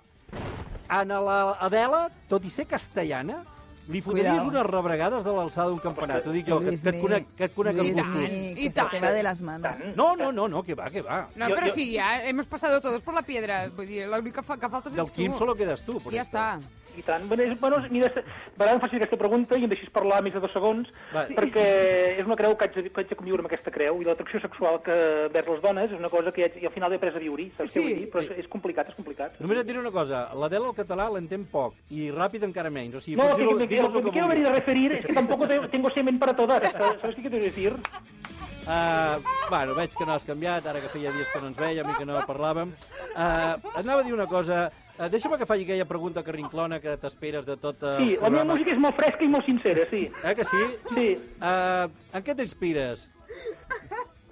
[SPEAKER 2] a l'Adela, tot i ser castellana, li fotries
[SPEAKER 5] Cuidao.
[SPEAKER 2] unes rebregades de l'alçada d'un campanat, t'ho dic jo, que, que et conec, que et conec
[SPEAKER 5] Luismi,
[SPEAKER 2] els gustos.
[SPEAKER 3] gustos.
[SPEAKER 5] que
[SPEAKER 3] I
[SPEAKER 5] se
[SPEAKER 3] tant.
[SPEAKER 5] te va de las manos.
[SPEAKER 2] No, no, no, no, que va, que va.
[SPEAKER 3] No,
[SPEAKER 10] Jo-
[SPEAKER 3] però
[SPEAKER 10] jo-
[SPEAKER 3] sí, ja hemos pasado todos por la piedra. Vull dir, l'única fa que falta
[SPEAKER 2] Del
[SPEAKER 3] ets
[SPEAKER 2] Quim
[SPEAKER 3] tu.
[SPEAKER 2] solo quedes tu. per
[SPEAKER 3] Ja
[SPEAKER 2] esto.
[SPEAKER 3] està.
[SPEAKER 10] I tant. Bueno, és- bueno, mira, se- Baran, em facis aquesta pregunta i em deixis parlar més de dos segons,
[SPEAKER 2] Va. Sí.
[SPEAKER 10] perquè és una creu que haig, de, que haig de conviure amb aquesta creu, i l'atracció sexual que vers les dones és una cosa que ja, haig- i al final he après a viure-hi, saps què
[SPEAKER 3] Sí.
[SPEAKER 10] vull dir? Però és, és complicat, és complicat.
[SPEAKER 2] Només et diré una cosa, l'Adela al català l'entén poc, i ràpid encara menys. O sigui,
[SPEAKER 10] No,
[SPEAKER 2] pots
[SPEAKER 10] lo que,
[SPEAKER 2] dir-ho-
[SPEAKER 10] me,
[SPEAKER 2] digues
[SPEAKER 10] lo que
[SPEAKER 2] el
[SPEAKER 10] me
[SPEAKER 2] que
[SPEAKER 10] quiero venir
[SPEAKER 2] vulguis.
[SPEAKER 10] a referir es que tampoco te- tengo semen para todas. ¿Sabes qué quiero decir?
[SPEAKER 2] Uh, bueno, veig que no has canviat, ara que feia dies que no ens vèiem i que no parlàvem. Uh, anava a dir una cosa. Uh, Deixa'm que faci aquella pregunta que rinclona que t'esperes de tot eh, el
[SPEAKER 10] Sí, la meva música és molt fresca i molt sincera, sí.
[SPEAKER 2] Eh que sí?
[SPEAKER 10] Sí.
[SPEAKER 2] Uh, en què t'inspires?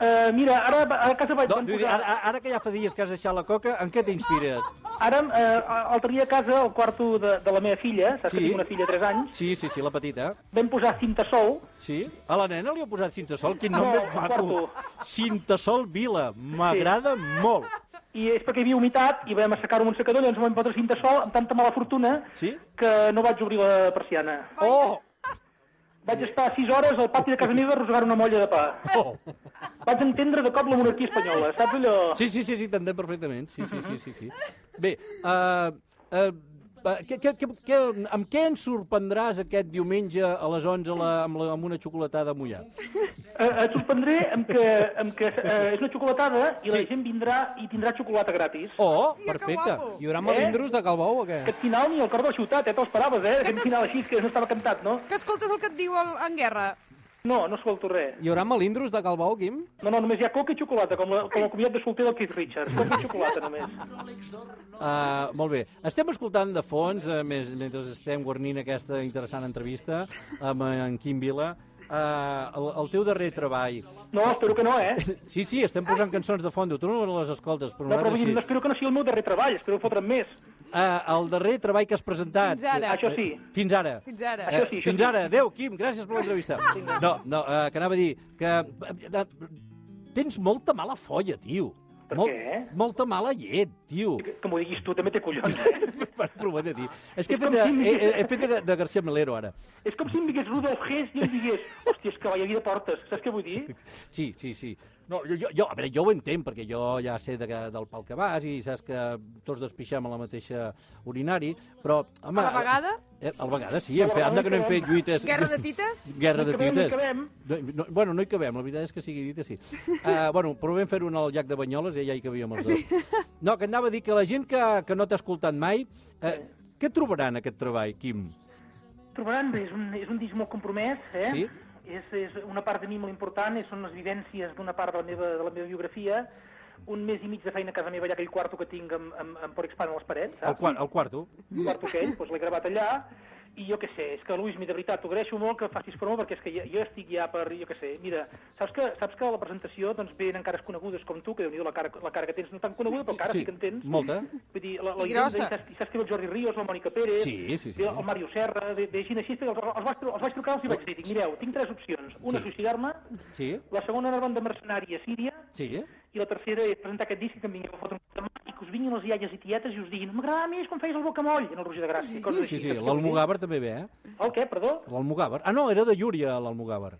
[SPEAKER 10] Eh, mira, ara a casa vaig...
[SPEAKER 2] No,
[SPEAKER 10] van
[SPEAKER 2] vull dir,
[SPEAKER 10] posar-
[SPEAKER 2] ara, ara que ja fa dies que has deixat la coca, en què t'inspires?
[SPEAKER 10] Ara, eh, l'altre dia a casa, al quarto de, de la meva filla, saps
[SPEAKER 2] Sí.
[SPEAKER 10] que tinc una filla de 3 anys,
[SPEAKER 2] Sí, sí, sí, la petita.
[SPEAKER 10] vam posar cinta sol,
[SPEAKER 2] Sí? A la nena li heu posat Cintasol? Quin nom
[SPEAKER 10] No,
[SPEAKER 2] més maco!
[SPEAKER 10] porto.
[SPEAKER 2] Cintasol Vila. M'agrada molt.
[SPEAKER 10] i és perquè hi havia humitat, i vam assecar-ho amb un secador, llavors vam fotre cinta sol, amb tanta mala fortuna,
[SPEAKER 2] Sí?
[SPEAKER 10] que no vaig obrir la persiana.
[SPEAKER 2] Oh!
[SPEAKER 10] Vaig estar 6 hores al pati de casa meva rosegant una molla de pa.
[SPEAKER 2] oh.
[SPEAKER 10] Vaig entendre de cop la monarquia espanyola, saps allò?
[SPEAKER 2] Sí, sí, sí, sí t'entenc perfectament. Sí, sí, sí, sí, sí. Bé, uh, uh, què, què, què, què, amb què ens sorprendràs aquest diumenge a les 11 la, amb, la, amb una xocolatada mullada?
[SPEAKER 3] Oh,
[SPEAKER 10] Eh, et sorprendré amb que, amb que eh, és una xocolatada i la
[SPEAKER 2] Sí.
[SPEAKER 10] gent vindrà i tindrà xocolata gratis.
[SPEAKER 2] Oh,
[SPEAKER 3] Hòstia, que
[SPEAKER 2] perfecte.
[SPEAKER 3] guapo.
[SPEAKER 11] Hi haurà
[SPEAKER 10] Eh?
[SPEAKER 11] molindros de Calbou o què?
[SPEAKER 10] Aquest final ni al cor de la ciutat, eh? Te'ls paraves, eh? Aquest final així, que no estava cantat, no?
[SPEAKER 3] Que escoltes el que et diu el, en Guerra.
[SPEAKER 10] No, no escolto res.
[SPEAKER 11] Hi haurà molindros de Calbou, Quim?
[SPEAKER 10] No, no, només hi ha coca i xocolata, com, la, com el comiat de solter del Keith Richards. Coca i xocolata, només.
[SPEAKER 2] Uh, molt bé. Estem escoltant de fons, uh, més, mentre estem guarnint aquesta interessant entrevista amb eh, en Quim Vila, uh, el, el teu darrer treball.
[SPEAKER 10] No, espero que no, eh?
[SPEAKER 2] Sí, sí, estem posant cançons de fondo. Tu no les escoltes, però
[SPEAKER 10] No, però vull dir,
[SPEAKER 2] nosaltres
[SPEAKER 10] no,
[SPEAKER 2] sí.
[SPEAKER 10] espero que no sigui el meu darrer treball, espero fotre'n més.
[SPEAKER 2] Uh, el darrer treball que has presentat.
[SPEAKER 3] Fins ara.
[SPEAKER 10] Això sí.
[SPEAKER 2] Fins ara.
[SPEAKER 3] Fins
[SPEAKER 2] Eh,
[SPEAKER 3] ara.
[SPEAKER 10] Això sí, això
[SPEAKER 2] fins
[SPEAKER 10] sí.
[SPEAKER 2] ara. Adéu, Quim, gràcies per l'entrevista. No, no, eh, que anava a dir que... eh, eh, Tens molta mala folla, tio.
[SPEAKER 10] Per
[SPEAKER 2] Mol,
[SPEAKER 10] què?
[SPEAKER 2] Molta mala llet, tio.
[SPEAKER 10] Que m'ho diguis tu, també té collons.
[SPEAKER 2] Però ho he de dir. És que he
[SPEAKER 10] És
[SPEAKER 2] fet,
[SPEAKER 10] com
[SPEAKER 2] de,
[SPEAKER 10] si em
[SPEAKER 2] he, he-
[SPEAKER 10] digués-
[SPEAKER 2] he fet de, de García Melero, ara.
[SPEAKER 10] És com si em digués Rudolf Hess i em digués, hòstia, és que vaya vida portes, saps què vull dir?
[SPEAKER 2] Sí, sí, sí. No, jo, jo, jo, a veure, jo ho entenc, perquè jo ja sé de, que- del pal que vas i saps que tots despixem a la mateixa urinari, però... Home,
[SPEAKER 3] A la vegada?
[SPEAKER 2] Eh, a la vegada, sí. Hem fet, anda que no hem fet lluites...
[SPEAKER 3] Guerra de tites?
[SPEAKER 2] Guerra de tites.
[SPEAKER 3] Acabem,
[SPEAKER 2] No, no, bueno, no hi cabem, la veritat és que sigui dita sí. Uh, bueno, provem fer un al llac de Banyoles i allà hi cabíem els dos. Sí. No, que anava a dir que la gent que, que no t'ha escoltat mai, uh, què trobaran en aquest treball, Quim?
[SPEAKER 10] Trobaran, bé, és un, és un disc molt compromès, eh?
[SPEAKER 2] Sí.
[SPEAKER 10] És, és una part de mi molt important, és, són les vivències d'una part de la, meva, de la meva biografia, un mes i mig de feina a casa meva, allà aquell quarto que tinc amb, amb, amb Porexpan a les parets,
[SPEAKER 2] El,
[SPEAKER 10] saps?
[SPEAKER 2] quart, el quarto?
[SPEAKER 10] El quarto aquell, doncs l'he gravat allà, i jo què sé, és que Luis, mi de veritat, t'ho agraeixo molt que facis promo perquè és que ja- jo estic ja per, jo què sé, mira, saps que, saps que a la presentació doncs venen cares conegudes com tu, que déu nhi la cara, la cara que tens, no tan coneguda, però cara sí, que en tens.
[SPEAKER 2] molta.
[SPEAKER 10] Vull dir, la, la
[SPEAKER 2] I
[SPEAKER 10] Irene,
[SPEAKER 2] grossa.
[SPEAKER 10] i saps, i saps que ve el Jordi Ríos, la Mònica Pérez,
[SPEAKER 2] Sí, sí, sí.
[SPEAKER 10] ve el Mario Serra, ve, ve gent així, els, els, els, vaig, tru- els vaig trucar els hi vaig dir, dic, mireu, tinc tres opcions.
[SPEAKER 2] Oh.
[SPEAKER 10] Una,
[SPEAKER 2] Sí.
[SPEAKER 10] suïcidar-me,
[SPEAKER 2] Sí?
[SPEAKER 10] la segona, anar de mercenari a Síria,
[SPEAKER 2] Sí?
[SPEAKER 10] i la tercera és presentar aquest disc i que em vingueu a fotre un cop de mà i que us vinguin les iaies i tietes i us diguin m'agradava més quan feies el bocamoll en el Roger de Gràcia, i coses així.
[SPEAKER 2] Sí, sí,
[SPEAKER 10] saps què vull dir?
[SPEAKER 2] l'Almogàver també ve, eh?
[SPEAKER 10] El què, perdó?
[SPEAKER 2] L'Almogàver. Ah, no, era de Llúria, l'Almogàver.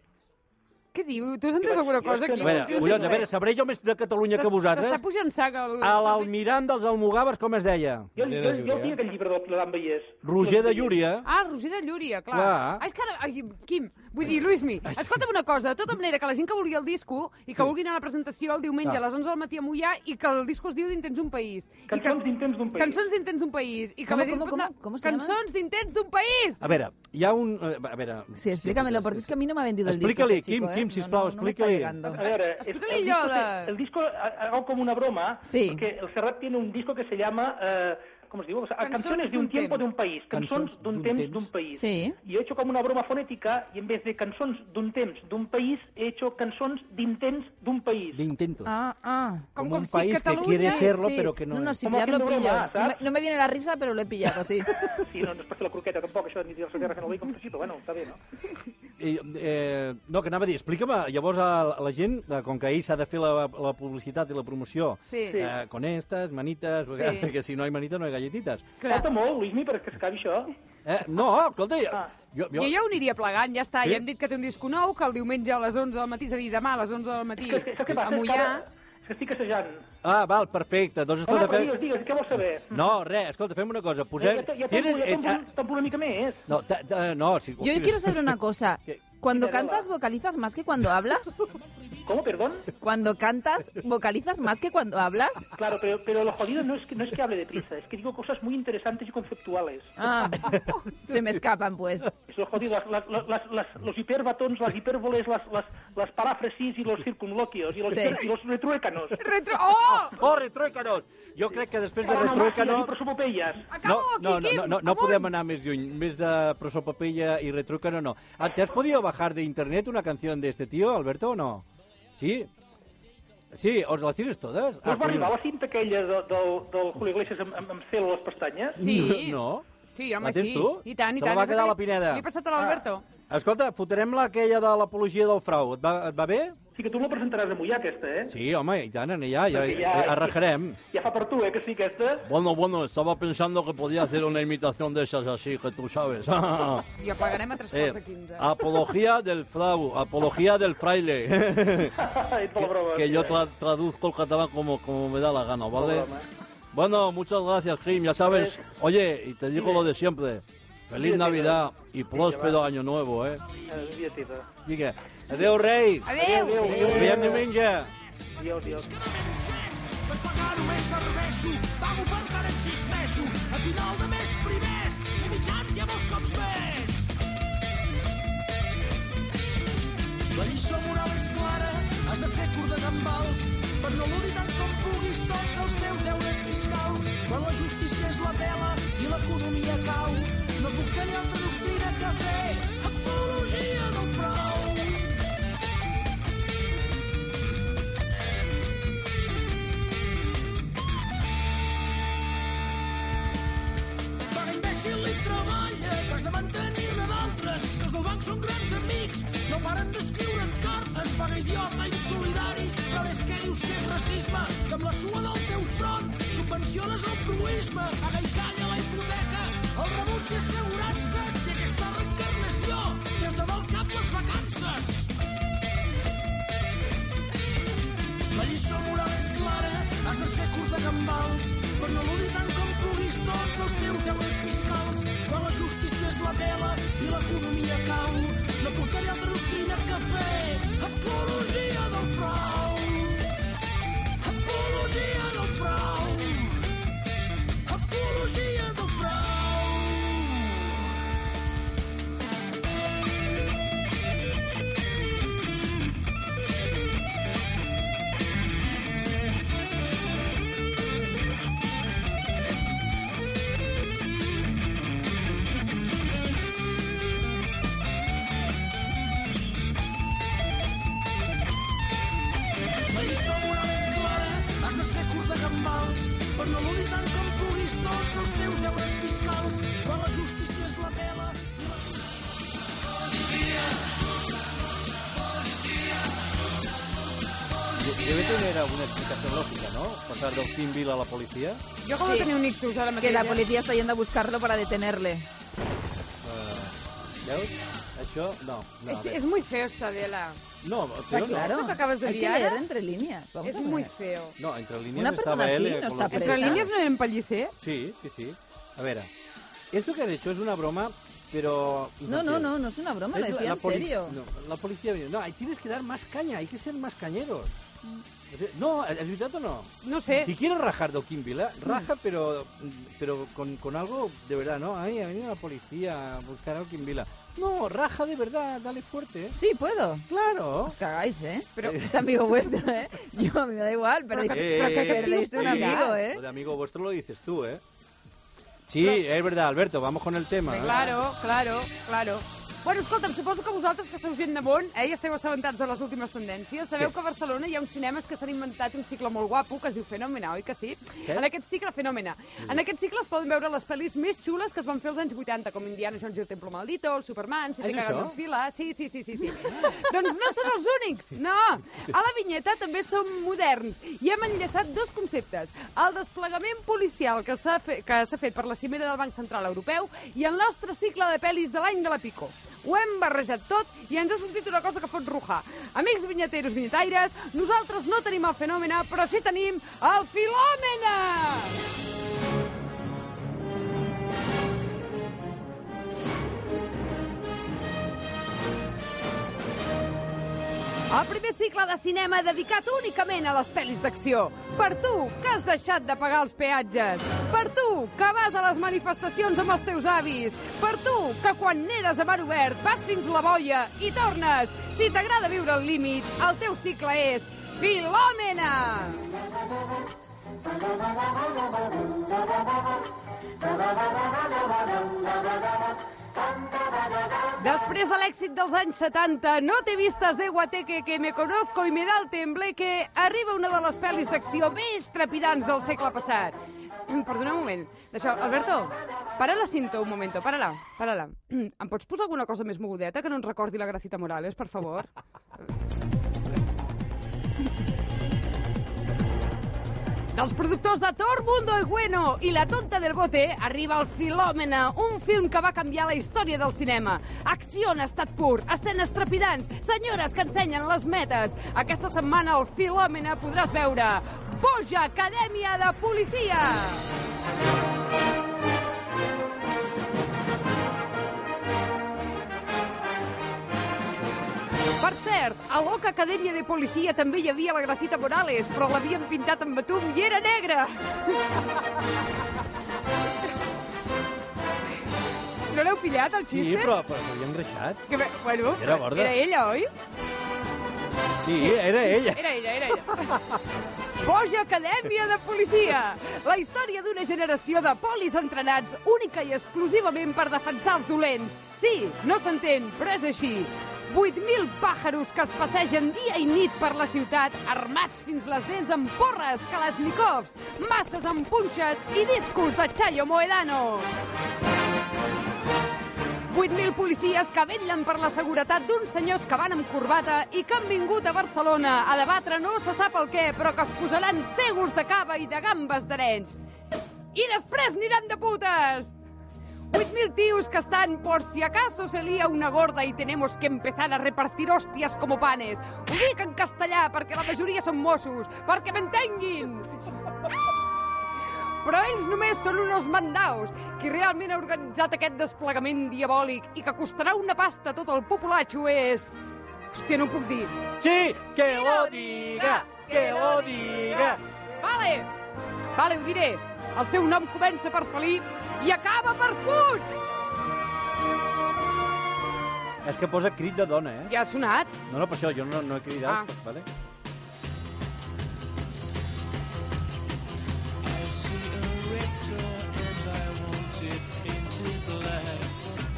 [SPEAKER 3] Què diu? Tu has entès alguna cosa
[SPEAKER 2] A
[SPEAKER 3] aquí?
[SPEAKER 2] veure,
[SPEAKER 3] Jo no
[SPEAKER 2] collons, a
[SPEAKER 3] entenc
[SPEAKER 2] veure,
[SPEAKER 3] res.
[SPEAKER 2] sabré jo més de Catalunya que
[SPEAKER 3] T'es-
[SPEAKER 2] vosaltres.
[SPEAKER 3] T'està pujant saga. El...
[SPEAKER 2] A l'almirant dels Almogàvers, com es deia?
[SPEAKER 10] Jo, jo, jo, jo tinc aquest llibre del Pilar Vallès.
[SPEAKER 2] Roger de Llúria.
[SPEAKER 3] Ah, Roger de Llúria, clar.
[SPEAKER 2] Clar.
[SPEAKER 3] Ah, és que ara... Ai, Quim, vull dir, Luismi, escolta'm una cosa. De tota manera, que la gent que vulgui el disco i que vulgui anar a la presentació el diumenge
[SPEAKER 10] Clar.
[SPEAKER 3] a les 11 del matí a Mollà i que el disco es diu d'Intents d'un país.
[SPEAKER 10] Cançons d'Intents d'un país.
[SPEAKER 3] Cançons d'Intents d'un país. I que
[SPEAKER 5] Com,
[SPEAKER 3] la gent
[SPEAKER 5] com,
[SPEAKER 3] pot
[SPEAKER 5] com,
[SPEAKER 3] anar-
[SPEAKER 5] com se llama?
[SPEAKER 3] Cançons d'Intents d'un país!
[SPEAKER 2] A veure, hi ha un... eh, A veure...
[SPEAKER 5] Sí, explícamelo, porque es que a mí no me ha vendido el disco
[SPEAKER 2] Explícale,
[SPEAKER 5] este chico,
[SPEAKER 2] Kim,
[SPEAKER 5] ¿eh?
[SPEAKER 2] Kim,
[SPEAKER 5] No,
[SPEAKER 2] sisplau,
[SPEAKER 5] no, no me está
[SPEAKER 2] explícale.
[SPEAKER 5] llegando.
[SPEAKER 10] A ver,
[SPEAKER 5] Explícale yo
[SPEAKER 10] el, disco,
[SPEAKER 5] la-
[SPEAKER 10] se- el disco ha- hago como una broma,
[SPEAKER 5] Sí.
[SPEAKER 10] porque el Serrat tiene un disco que se llama, eh, ¿cómo se digo? O sea,
[SPEAKER 5] Canciones
[SPEAKER 10] Canciones, de
[SPEAKER 5] d'un
[SPEAKER 10] un
[SPEAKER 5] temps.
[SPEAKER 10] tiempo de un país, Canciones de un temps de un país.
[SPEAKER 5] Sí.
[SPEAKER 10] Y he hecho como una broma fonética y en vez de Canciones de un temps de un país, he hecho Canciones de intents de un país.
[SPEAKER 2] D'intento.
[SPEAKER 5] Ah, ah.
[SPEAKER 2] Como Como un sí, país que Cataluña. quiere serlo, pero que no
[SPEAKER 5] No, no,
[SPEAKER 2] es.
[SPEAKER 5] sí,
[SPEAKER 10] Como
[SPEAKER 5] ya lo
[SPEAKER 10] haciendo
[SPEAKER 5] pillo.
[SPEAKER 10] broma,
[SPEAKER 5] no, me,
[SPEAKER 10] ¿sabes?
[SPEAKER 5] no me viene la risa, pero lo he pillado, sí.
[SPEAKER 10] Sí, no, no es para la croqueta tampoco, eso de admitir-se que no ho dic, però bueno, está bien, no?
[SPEAKER 2] Eh, eh, no, que anava a dir, explica'm, eh, llavors a la, la gent, eh, com que ell s'ha de fer la, la publicitat i la promoció,
[SPEAKER 10] Sí.
[SPEAKER 2] eh, con estas, manites, sí. perquè si no hi manita no hi galletites.
[SPEAKER 10] Falta molt, Luismi, perquè s'acabi això.
[SPEAKER 2] Eh, no, escolta,
[SPEAKER 5] Ah.
[SPEAKER 2] jo, jo,
[SPEAKER 3] Jo
[SPEAKER 2] jo,
[SPEAKER 3] ja ho aniria plegant, ja està.
[SPEAKER 2] Sí?
[SPEAKER 3] Ja hem dit que té un disco nou, que el diumenge a les 11 del matí, és a dir, demà a les 11 del matí, a
[SPEAKER 10] passa?
[SPEAKER 3] Mollà...
[SPEAKER 10] És que estic assajant.
[SPEAKER 2] Ah, val, perfecte. Doncs
[SPEAKER 10] Home,
[SPEAKER 2] escolta,
[SPEAKER 10] però digues, digues, què vols saber?
[SPEAKER 2] No, res, escolta, fem una cosa. Mm. Posem...
[SPEAKER 10] Ja, ja, ja, tampoco-
[SPEAKER 2] Tienes-
[SPEAKER 10] ja, tampoco-
[SPEAKER 2] eh,
[SPEAKER 10] tampoco una mica més.
[SPEAKER 2] ah, no, ta- ta- no, si...
[SPEAKER 5] Yo quiero saber una cosa. Cuando cantas, vocalizas más que cuando hablas.
[SPEAKER 10] ¿Cómo, perdón?
[SPEAKER 5] Cuando cantas, vocalizas más que cuando hablas.
[SPEAKER 10] Claro, pero, pero lo jodido no es, que, no es que hable deprisa, es que digo cosas muy interesantes y conceptuales.
[SPEAKER 5] Ah, se me escapan, pues.
[SPEAKER 10] Es lo jodido, las, las- las- las- los hiperbatons, las hipérboles, las, las, las paráfrasis y los circunloquios y los,
[SPEAKER 2] Sí.
[SPEAKER 10] y los retruécanos.
[SPEAKER 3] Retro... ¡Oh!
[SPEAKER 2] Oh, retruécanos! Jo crec que després de
[SPEAKER 10] Retruécanos
[SPEAKER 2] retruécanos...
[SPEAKER 10] y prosopopeyas.
[SPEAKER 2] No, no, no, no, no, no podem anar més lluny, més de prosopapella i retruécano, no. Ah, ¿Te has podido bajar de internet una canción de este tío, Alberto, o no? Sí? Sí, ¿os las tienes todas?
[SPEAKER 10] Us va
[SPEAKER 2] Ah, coño.
[SPEAKER 10] arribar la cinta aquella de, del, del Julio Iglesias amb, amb, amb cel a les pestanyes?
[SPEAKER 3] Sí.
[SPEAKER 2] No?
[SPEAKER 3] Sí, home,
[SPEAKER 2] La tens
[SPEAKER 3] sí.
[SPEAKER 2] tu?
[SPEAKER 3] I tant, i
[SPEAKER 2] Se la
[SPEAKER 3] tant.
[SPEAKER 2] va
[SPEAKER 3] És
[SPEAKER 2] quedar
[SPEAKER 3] aquella-
[SPEAKER 2] la Pineda.
[SPEAKER 3] L'he passat a l'Alberto.
[SPEAKER 2] Escolta, fotrem la aquella de l'apologia del frau. Et va, et va bé?
[SPEAKER 10] Sí, que tu me la presentaràs a Mollà, aquesta, eh?
[SPEAKER 2] Sí, home, i tant, ja, ja,
[SPEAKER 10] Perquè
[SPEAKER 2] ja
[SPEAKER 10] ja-
[SPEAKER 2] arrajarem.
[SPEAKER 10] Ja fa per tu, eh, que sí, aquesta?
[SPEAKER 12] Bueno, bueno, estaba pensando que podía hacer una imitación de esas así, que tú sabes.
[SPEAKER 3] I el pagarem a tres quarts de
[SPEAKER 12] Eh,
[SPEAKER 3] 15.
[SPEAKER 2] ah,
[SPEAKER 12] apología del frau, apología del fraile.
[SPEAKER 10] que,
[SPEAKER 12] que yo tra- traduzco el catalán como, como me da la gana, ¿vale? Bueno, muchas gracias, Kim, ya sabes. Oye, y te digo lo de siempre. Feliz
[SPEAKER 10] Pues, Dime,
[SPEAKER 12] Navidad y próspero Año Nuevo, ¿eh?
[SPEAKER 10] Eh, via teva.
[SPEAKER 12] Diga, adiós, rey.
[SPEAKER 10] Adéu. Adéu.
[SPEAKER 12] Adéu. Ens veiem diumenge.
[SPEAKER 10] Adéu, adéu.
[SPEAKER 9] Per pagar només serveixo, pago per tant existeixo. A final de mes primers, i mitjans ja molts cops més. La lliçó moral és clara, has de ser curt de gambals. Per no eludir tant com puguis tots els teus deures fiscals. Quan la justícia és la vela i l'economia cau, no puc tenir altra doctrina que fer apologia del frau. Per imbècil li treballa, que has de mantenir-ne d'altres. Si Els del banc són grans amics, no paren d'escriure'n cartes, paga idiota, insolidari, però és que dius que és racisme, que amb la sua del teu front subvenciones el proisme, paga i calla la hipoteca, el rebuig i assegurança, si aquesta reencarnació treu-te del cap les vacances. La lliçó moral és clara, has de ser curt de gambals, per no l'odi tant com puguis tots els teus deures fiscals. Quan la justícia és la vela i l'economia cau, no portaré altra doctrina que fer apologia del frau. Apologia del frau. Apologia del frau. La lliçó moral és clara, has de ser curt de gambals, per no l'odi tant com puguis tots els teus deures fiscals, quan la justícia és la vela i la...
[SPEAKER 2] Debe tener alguna explicación lógica, ¿no? Pasar de Optimville a la policía.
[SPEAKER 3] Yo acabo de tener un ictus ahora
[SPEAKER 5] Que
[SPEAKER 3] mateix,
[SPEAKER 5] la
[SPEAKER 3] eh?
[SPEAKER 5] policía está yendo a buscarlo para detenerle.
[SPEAKER 2] Eh, veus? Això, no. no a
[SPEAKER 3] Es,
[SPEAKER 2] veure.
[SPEAKER 3] es muy feo esta vela.
[SPEAKER 2] No, pero no.
[SPEAKER 3] Esto que acabas de
[SPEAKER 5] Ah, Hay que
[SPEAKER 3] liar
[SPEAKER 5] leer entre líneas. Vamos
[SPEAKER 3] es
[SPEAKER 5] a ver.
[SPEAKER 3] muy feo.
[SPEAKER 2] No, entre líneas
[SPEAKER 5] Una persona
[SPEAKER 2] estaba él.
[SPEAKER 5] así
[SPEAKER 2] eh,
[SPEAKER 5] no
[SPEAKER 2] con
[SPEAKER 5] está
[SPEAKER 2] los-
[SPEAKER 5] presa.
[SPEAKER 3] ¿Entre líneas no eren pellicer?
[SPEAKER 2] Sí, sí, sí. A ver, esto que han hecho es una broma, pero...
[SPEAKER 5] No, no, no, no es una broma, lo
[SPEAKER 2] Es la-
[SPEAKER 5] decía
[SPEAKER 2] la
[SPEAKER 5] en
[SPEAKER 2] poli-
[SPEAKER 5] serio.
[SPEAKER 2] no, la policía... No, ahí tienes que dar más caña, hay que ser más cañeros.
[SPEAKER 5] Mm.
[SPEAKER 2] No, ¿es verdad o no?
[SPEAKER 3] No sé.
[SPEAKER 2] Si quieres rajar de O'Kimball,
[SPEAKER 5] Mm.
[SPEAKER 2] raja, pero, pero con, con algo de verdad, ¿no? Ay, ha venido la policía a buscar a O'Kimball. No, raja de verdad, dale fuerte. ¿eh?
[SPEAKER 5] Sí, puedo.
[SPEAKER 2] Claro.
[SPEAKER 5] Os cagáis, ¿eh? Pero es amigo vuestro, ¿eh? Yo a mí me da igual, pero,
[SPEAKER 2] Pero que- Eh, pero que- que
[SPEAKER 5] perdéis un
[SPEAKER 2] sí.
[SPEAKER 5] amigo, ¿eh?
[SPEAKER 2] Lo de amigo vuestro lo dices tú, ¿eh? Sí, es verdad, Alberto, vamos con el tema. ¿eh?
[SPEAKER 3] Claro, claro, claro. Bueno, escolta'm, suposo que vosaltres que sou gent de món eh, i esteu assabentats de les últimes tendències. Sabeu
[SPEAKER 2] Sí.
[SPEAKER 3] que a Barcelona hi ha uns cinemes que s'han inventat un cicle molt guapo que es diu Fenòmena, oi que sí?
[SPEAKER 2] Què?
[SPEAKER 3] En aquest cicle, Fenòmena. En aquest cicle es poden veure les pel·lis més xules que es van fer als anys 80, com Indiana Jones i el Templo Maldito, el Superman, si
[SPEAKER 5] Ah,
[SPEAKER 3] te
[SPEAKER 5] és
[SPEAKER 3] cagas
[SPEAKER 5] això?
[SPEAKER 3] en fila... Sí, sí, sí, sí. sí. doncs no són els únics, no! A la vinyeta també som moderns i hem enllaçat dos conceptes. El desplegament policial que s'ha fe que s'ha fet per la cimera del Banc Central Europeu i el nostre cicle de pel·lis de l'any de la Pico. Ho hem barrejat tot i ens ha sortit una cosa que fot rujar. Amics vinyeteros, vinyetaires, nosaltres no tenim el fenòmena, però sí tenim el filòmena! El primer cicle de cinema dedicat únicament a les pel·lis d'acció. Per tu, que has deixat de pagar els peatges. Per tu, que vas a les manifestacions amb els teus avis. Per tu, que quan n'eres a mar obert vas fins la boia i tornes. Si t'agrada viure al límit, el teu cicle és Filòmena! Després de l'èxit dels anys 70, No te vistas de Guateque que me conozco y me da el tembleque, arriba una de les pel·lis d'acció més trepidants del segle passat. Perdona un moment. Deixa, Alberto, para la cinta un momento, para-la, para-la. Em pots posar alguna cosa més mogudeta que no ens recordi la Gracita Morales, per favor? Dels productors de Tor Mundo y Bueno i La tonta del bote arriba el Filòmena, un film que va canviar la història del cinema. Acció en estat pur, escenes trepidants, senyores que ensenyen les metes. Aquesta setmana el Filòmena podràs veure Boja Acadèmia de Policia! Per cert, a l'Oca Acadèmia de Policia també hi havia la Gracita Morales, però l'havien pintat amb batum i era negra! No l'heu pillat, el xiste?
[SPEAKER 2] Sí, però, però s'havia engreixat.
[SPEAKER 3] Que, bé- bueno,
[SPEAKER 2] Era gorda.
[SPEAKER 3] Era ella, oi?
[SPEAKER 2] Sí, era ella.
[SPEAKER 3] Era ella, era ella. Boja Acadèmia de Policia! La història d'una generació de polis entrenats única i exclusivament per defensar els dolents. Sí, no s'entén, però és així. 8.000 pàjaros que es passegen dia i nit per la ciutat, armats fins les dents amb porres, kalashnikovs, masses amb punxes i discos de Chayo Moedano. 8.000 policies que vetllen per la seguretat d'uns senyors que van amb corbata i que han vingut a Barcelona a debatre no se sap el què, però que es posaran cegos de cava i de gambes d'arenys. I després aniran de putes! 8.000 tíos que están por si acaso se lía una gorda y tenemos que empezar a repartir hostias como panes. Ho dic en castellà perquè la majoria són Mossos, perquè m'entenguin! Però ells només són unos mandaus. Qui realment ha organitzat aquest desplegament diabòlic i que costarà una pasta a tot el populatxo és... Hòstia, no ho puc dir.
[SPEAKER 2] Sí, que lo diga, que lo diga.
[SPEAKER 3] Vale, vale, ho diré. El seu nom comença per Felip i acaba per Puig!
[SPEAKER 2] És que posa crit de dona, eh?
[SPEAKER 3] Ja ha sonat?
[SPEAKER 2] No, no, per això jo no, no he cridat, doncs,
[SPEAKER 3] Ah.
[SPEAKER 2] vale?
[SPEAKER 13] I see a rector and I want it painted black.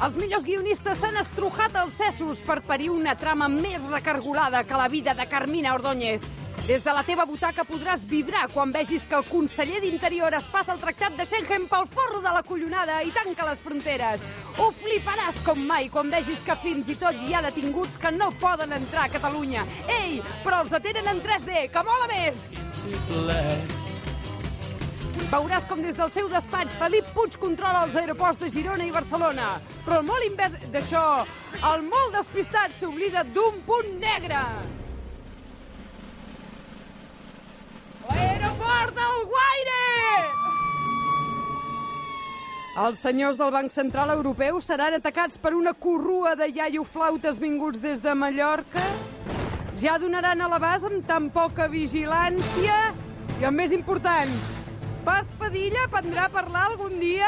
[SPEAKER 3] Els millors guionistes s'han estrujat els cessos per parir una trama més recargolada que la vida de Carmina Ordóñez. Des de la teva butaca podràs vibrar quan vegis que el conseller d'Interior es passa el tractat de Schengen pel forro de la collonada i tanca les fronteres. Ho fliparàs com mai quan vegis que fins i tot hi ha detinguts que no poden entrar a Catalunya. Ei, però els detenen en 3D, que mola més! Veuràs com des del seu despatx Felip Puig controla els aeroports de Girona i Barcelona. Però el molt imbès d'això, el molt despistat s'oblida d'un punt negre. L'aeroport del Guaire! Els senyors del Banc Central Europeu seran atacats per una corrua de iaioflautes vinguts des de Mallorca. Ja donaran a l'abast amb tan poca vigilància. I el més important, Paz Padilla prendrà a parlar algun dia?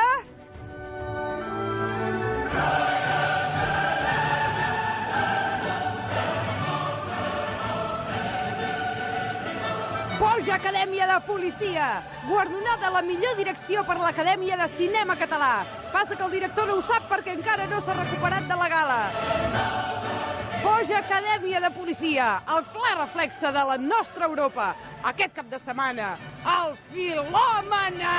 [SPEAKER 3] Boja Acadèmia de Policia, guardonada la millor direcció per l'Acadèmia de Cinema Català. Passa que el director no ho sap perquè encara no s'ha recuperat de la gala. Boja Acadèmia de Policia, el clar reflexe de la nostra Europa. Aquest cap de setmana, el Filòmena!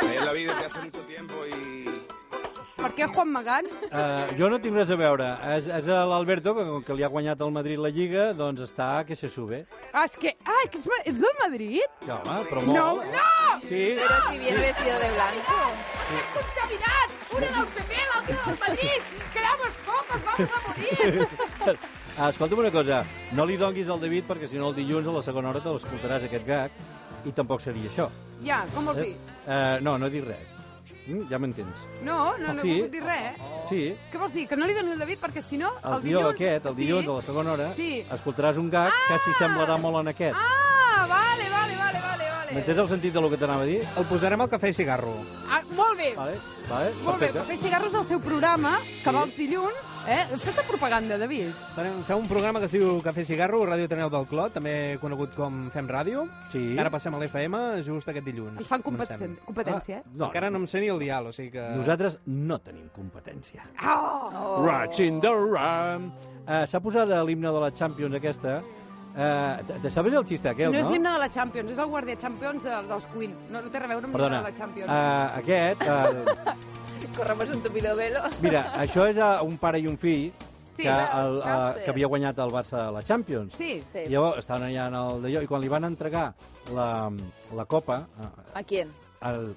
[SPEAKER 14] Ahí en la vida te hace mucho tiempo y...
[SPEAKER 3] Per què Juan Magán?
[SPEAKER 2] Uh, jo no tinc res a veure. És, és l'Alberto, que com que li ha guanyat al Madrid la Lliga, doncs està que se sube.
[SPEAKER 3] Ah, és que... Ah, que ets, ma- ets del Madrid?
[SPEAKER 2] Ja, home, però molt.
[SPEAKER 3] No, no!
[SPEAKER 2] Sí.
[SPEAKER 3] Però si
[SPEAKER 2] viene Sí.
[SPEAKER 5] vestido de blanco.
[SPEAKER 3] ¡Estás contaminado! ¡Una del PP, l'altra del Madrid! ¡Quedamos pocos, vamos a morir!
[SPEAKER 2] Ah, Escolta'm una cosa, no li donguis al David perquè si no el dilluns a la segona hora te l'escoltaràs aquest gag i tampoc seria això.
[SPEAKER 3] Ja, com vols dir?
[SPEAKER 2] Eh, no, no dic res. Mm, ja m'entens.
[SPEAKER 3] No, no, no
[SPEAKER 2] Sí.
[SPEAKER 3] he volgut dir res, eh?
[SPEAKER 2] Sí,
[SPEAKER 3] Què vols dir? Que no li doni el David perquè si no,
[SPEAKER 2] el,
[SPEAKER 3] el
[SPEAKER 2] guió
[SPEAKER 3] dilluns...
[SPEAKER 2] aquest, el dilluns a la segona hora,
[SPEAKER 3] Sí.
[SPEAKER 2] escoltaràs un gag que s'hi semblarà molt en aquest.
[SPEAKER 3] Ah, vale, vale, vale, vale, vale.
[SPEAKER 2] M'entens el sentit del que t'anava a dir? El posarem al cafè i cigarro.
[SPEAKER 3] Ah, molt bé.
[SPEAKER 2] Vale, vale,
[SPEAKER 3] Molt bé, Cafè i Cigarros el seu programa, que va els dilluns, eh? És que està propaganda, David.
[SPEAKER 15] Farem- Fem un programa que es diu Cafè Cigarro, Ràdio Ateneu del Clot, també conegut com Fem Ràdio.
[SPEAKER 2] Sí.
[SPEAKER 15] Ara passem a l'FM just aquest dilluns.
[SPEAKER 3] Ens fan competen-
[SPEAKER 15] Comencem.
[SPEAKER 3] competència, eh?
[SPEAKER 2] Ah, No.
[SPEAKER 15] Encara no em sé ni el dial, o sigui que...
[SPEAKER 2] Nosaltres no tenim competència.
[SPEAKER 3] Oh!
[SPEAKER 2] Rats in the Ram. Uh, S'ha posat l'himne de la Champions aquesta. Uh, te, te sabes el xiste aquell,
[SPEAKER 3] no,
[SPEAKER 2] no?
[SPEAKER 3] és l'himne de la Champions, és el guàrdia Champions de, dels Queen. No, no té res a veure amb l'himne
[SPEAKER 2] Perdona.
[SPEAKER 3] de la Champions.
[SPEAKER 2] Uh, aquest... Uh,
[SPEAKER 5] Corremos un tupido velo.
[SPEAKER 2] mira, això és uh, un pare i un fill
[SPEAKER 5] Sí,
[SPEAKER 2] que,
[SPEAKER 5] clar,
[SPEAKER 2] el, uh,
[SPEAKER 5] Casper.
[SPEAKER 2] que havia guanyat el Barça a la Champions.
[SPEAKER 5] Sí, sí.
[SPEAKER 2] I llavors estaven allà en el d'allò, i quan li van entregar la, la copa eh,
[SPEAKER 5] ¿A quién?
[SPEAKER 2] al,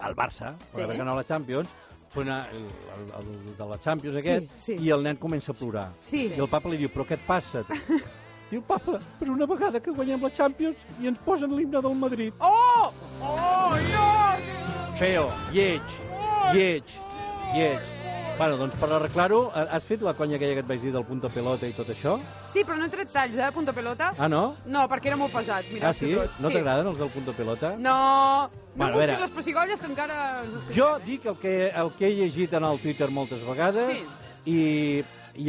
[SPEAKER 2] al Barça,
[SPEAKER 5] Sí.
[SPEAKER 2] per haver ganat la Champions, suena el, el, el de la Champions
[SPEAKER 5] Sí,
[SPEAKER 2] aquest,
[SPEAKER 5] sí.
[SPEAKER 2] i el nen comença a plorar.
[SPEAKER 5] Sí.
[SPEAKER 2] I el papa li diu, però què et passa? diu, papa, per una vegada que guanyem la Champions i ens posen l'himne del Madrid.
[SPEAKER 3] Oh! Oh, no!
[SPEAKER 2] Feo, lleig, lleig, lleig. Bueno, doncs per arreglar-ho, ha- has fet la conya aquella que et vaig dir del punta pelota i tot això?
[SPEAKER 3] Sí, però no he tret talls, eh, punta pelota.
[SPEAKER 2] Ah, no?
[SPEAKER 3] No, perquè era molt pesat. Mira,
[SPEAKER 2] ah, sí?
[SPEAKER 3] Tot.
[SPEAKER 2] No t'agraden els del punta pelota?
[SPEAKER 3] No, no
[SPEAKER 2] Bueno, a
[SPEAKER 3] bueno, busquis
[SPEAKER 2] veure.
[SPEAKER 3] les pessigolles que encara ens escriuen.
[SPEAKER 2] Jo dic el que, el que he llegit en el Twitter moltes vegades
[SPEAKER 3] Sí.
[SPEAKER 2] i,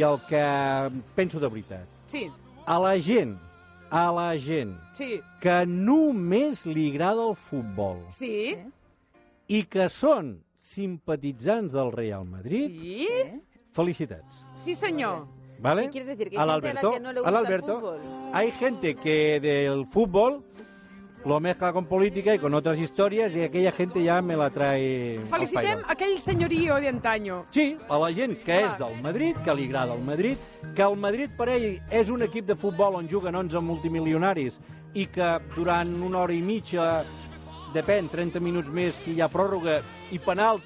[SPEAKER 2] i el que penso de veritat.
[SPEAKER 3] Sí,
[SPEAKER 2] A la gent, a la gent
[SPEAKER 3] sí,
[SPEAKER 2] que només li agrada el futbol
[SPEAKER 3] sí.
[SPEAKER 2] i que són simpatitzants del Real Madrid,
[SPEAKER 3] Sí?
[SPEAKER 2] Felicitats.
[SPEAKER 3] Sí, señor.
[SPEAKER 2] ¿Vale?
[SPEAKER 16] ¿Qué quieres decir? Que hay
[SPEAKER 2] Al
[SPEAKER 16] gente a la
[SPEAKER 2] Alberto,
[SPEAKER 16] que no le
[SPEAKER 2] al
[SPEAKER 16] gusta el
[SPEAKER 2] Alberto,
[SPEAKER 16] fútbol.
[SPEAKER 2] Hay gente que del fútbol lo mezcla con política y con otras historias y aquella gente ya me la trae al
[SPEAKER 3] Felicitem
[SPEAKER 2] pairo.
[SPEAKER 3] aquell senyorio d'antanyo.
[SPEAKER 2] Sí, a la gent que és del Madrid, que li agrada el Madrid, que el Madrid per ell és un equip de futbol on juguen 11 multimilionaris i que durant una hora i mitja, depèn, 30 minuts més si hi ha pròrroga i penals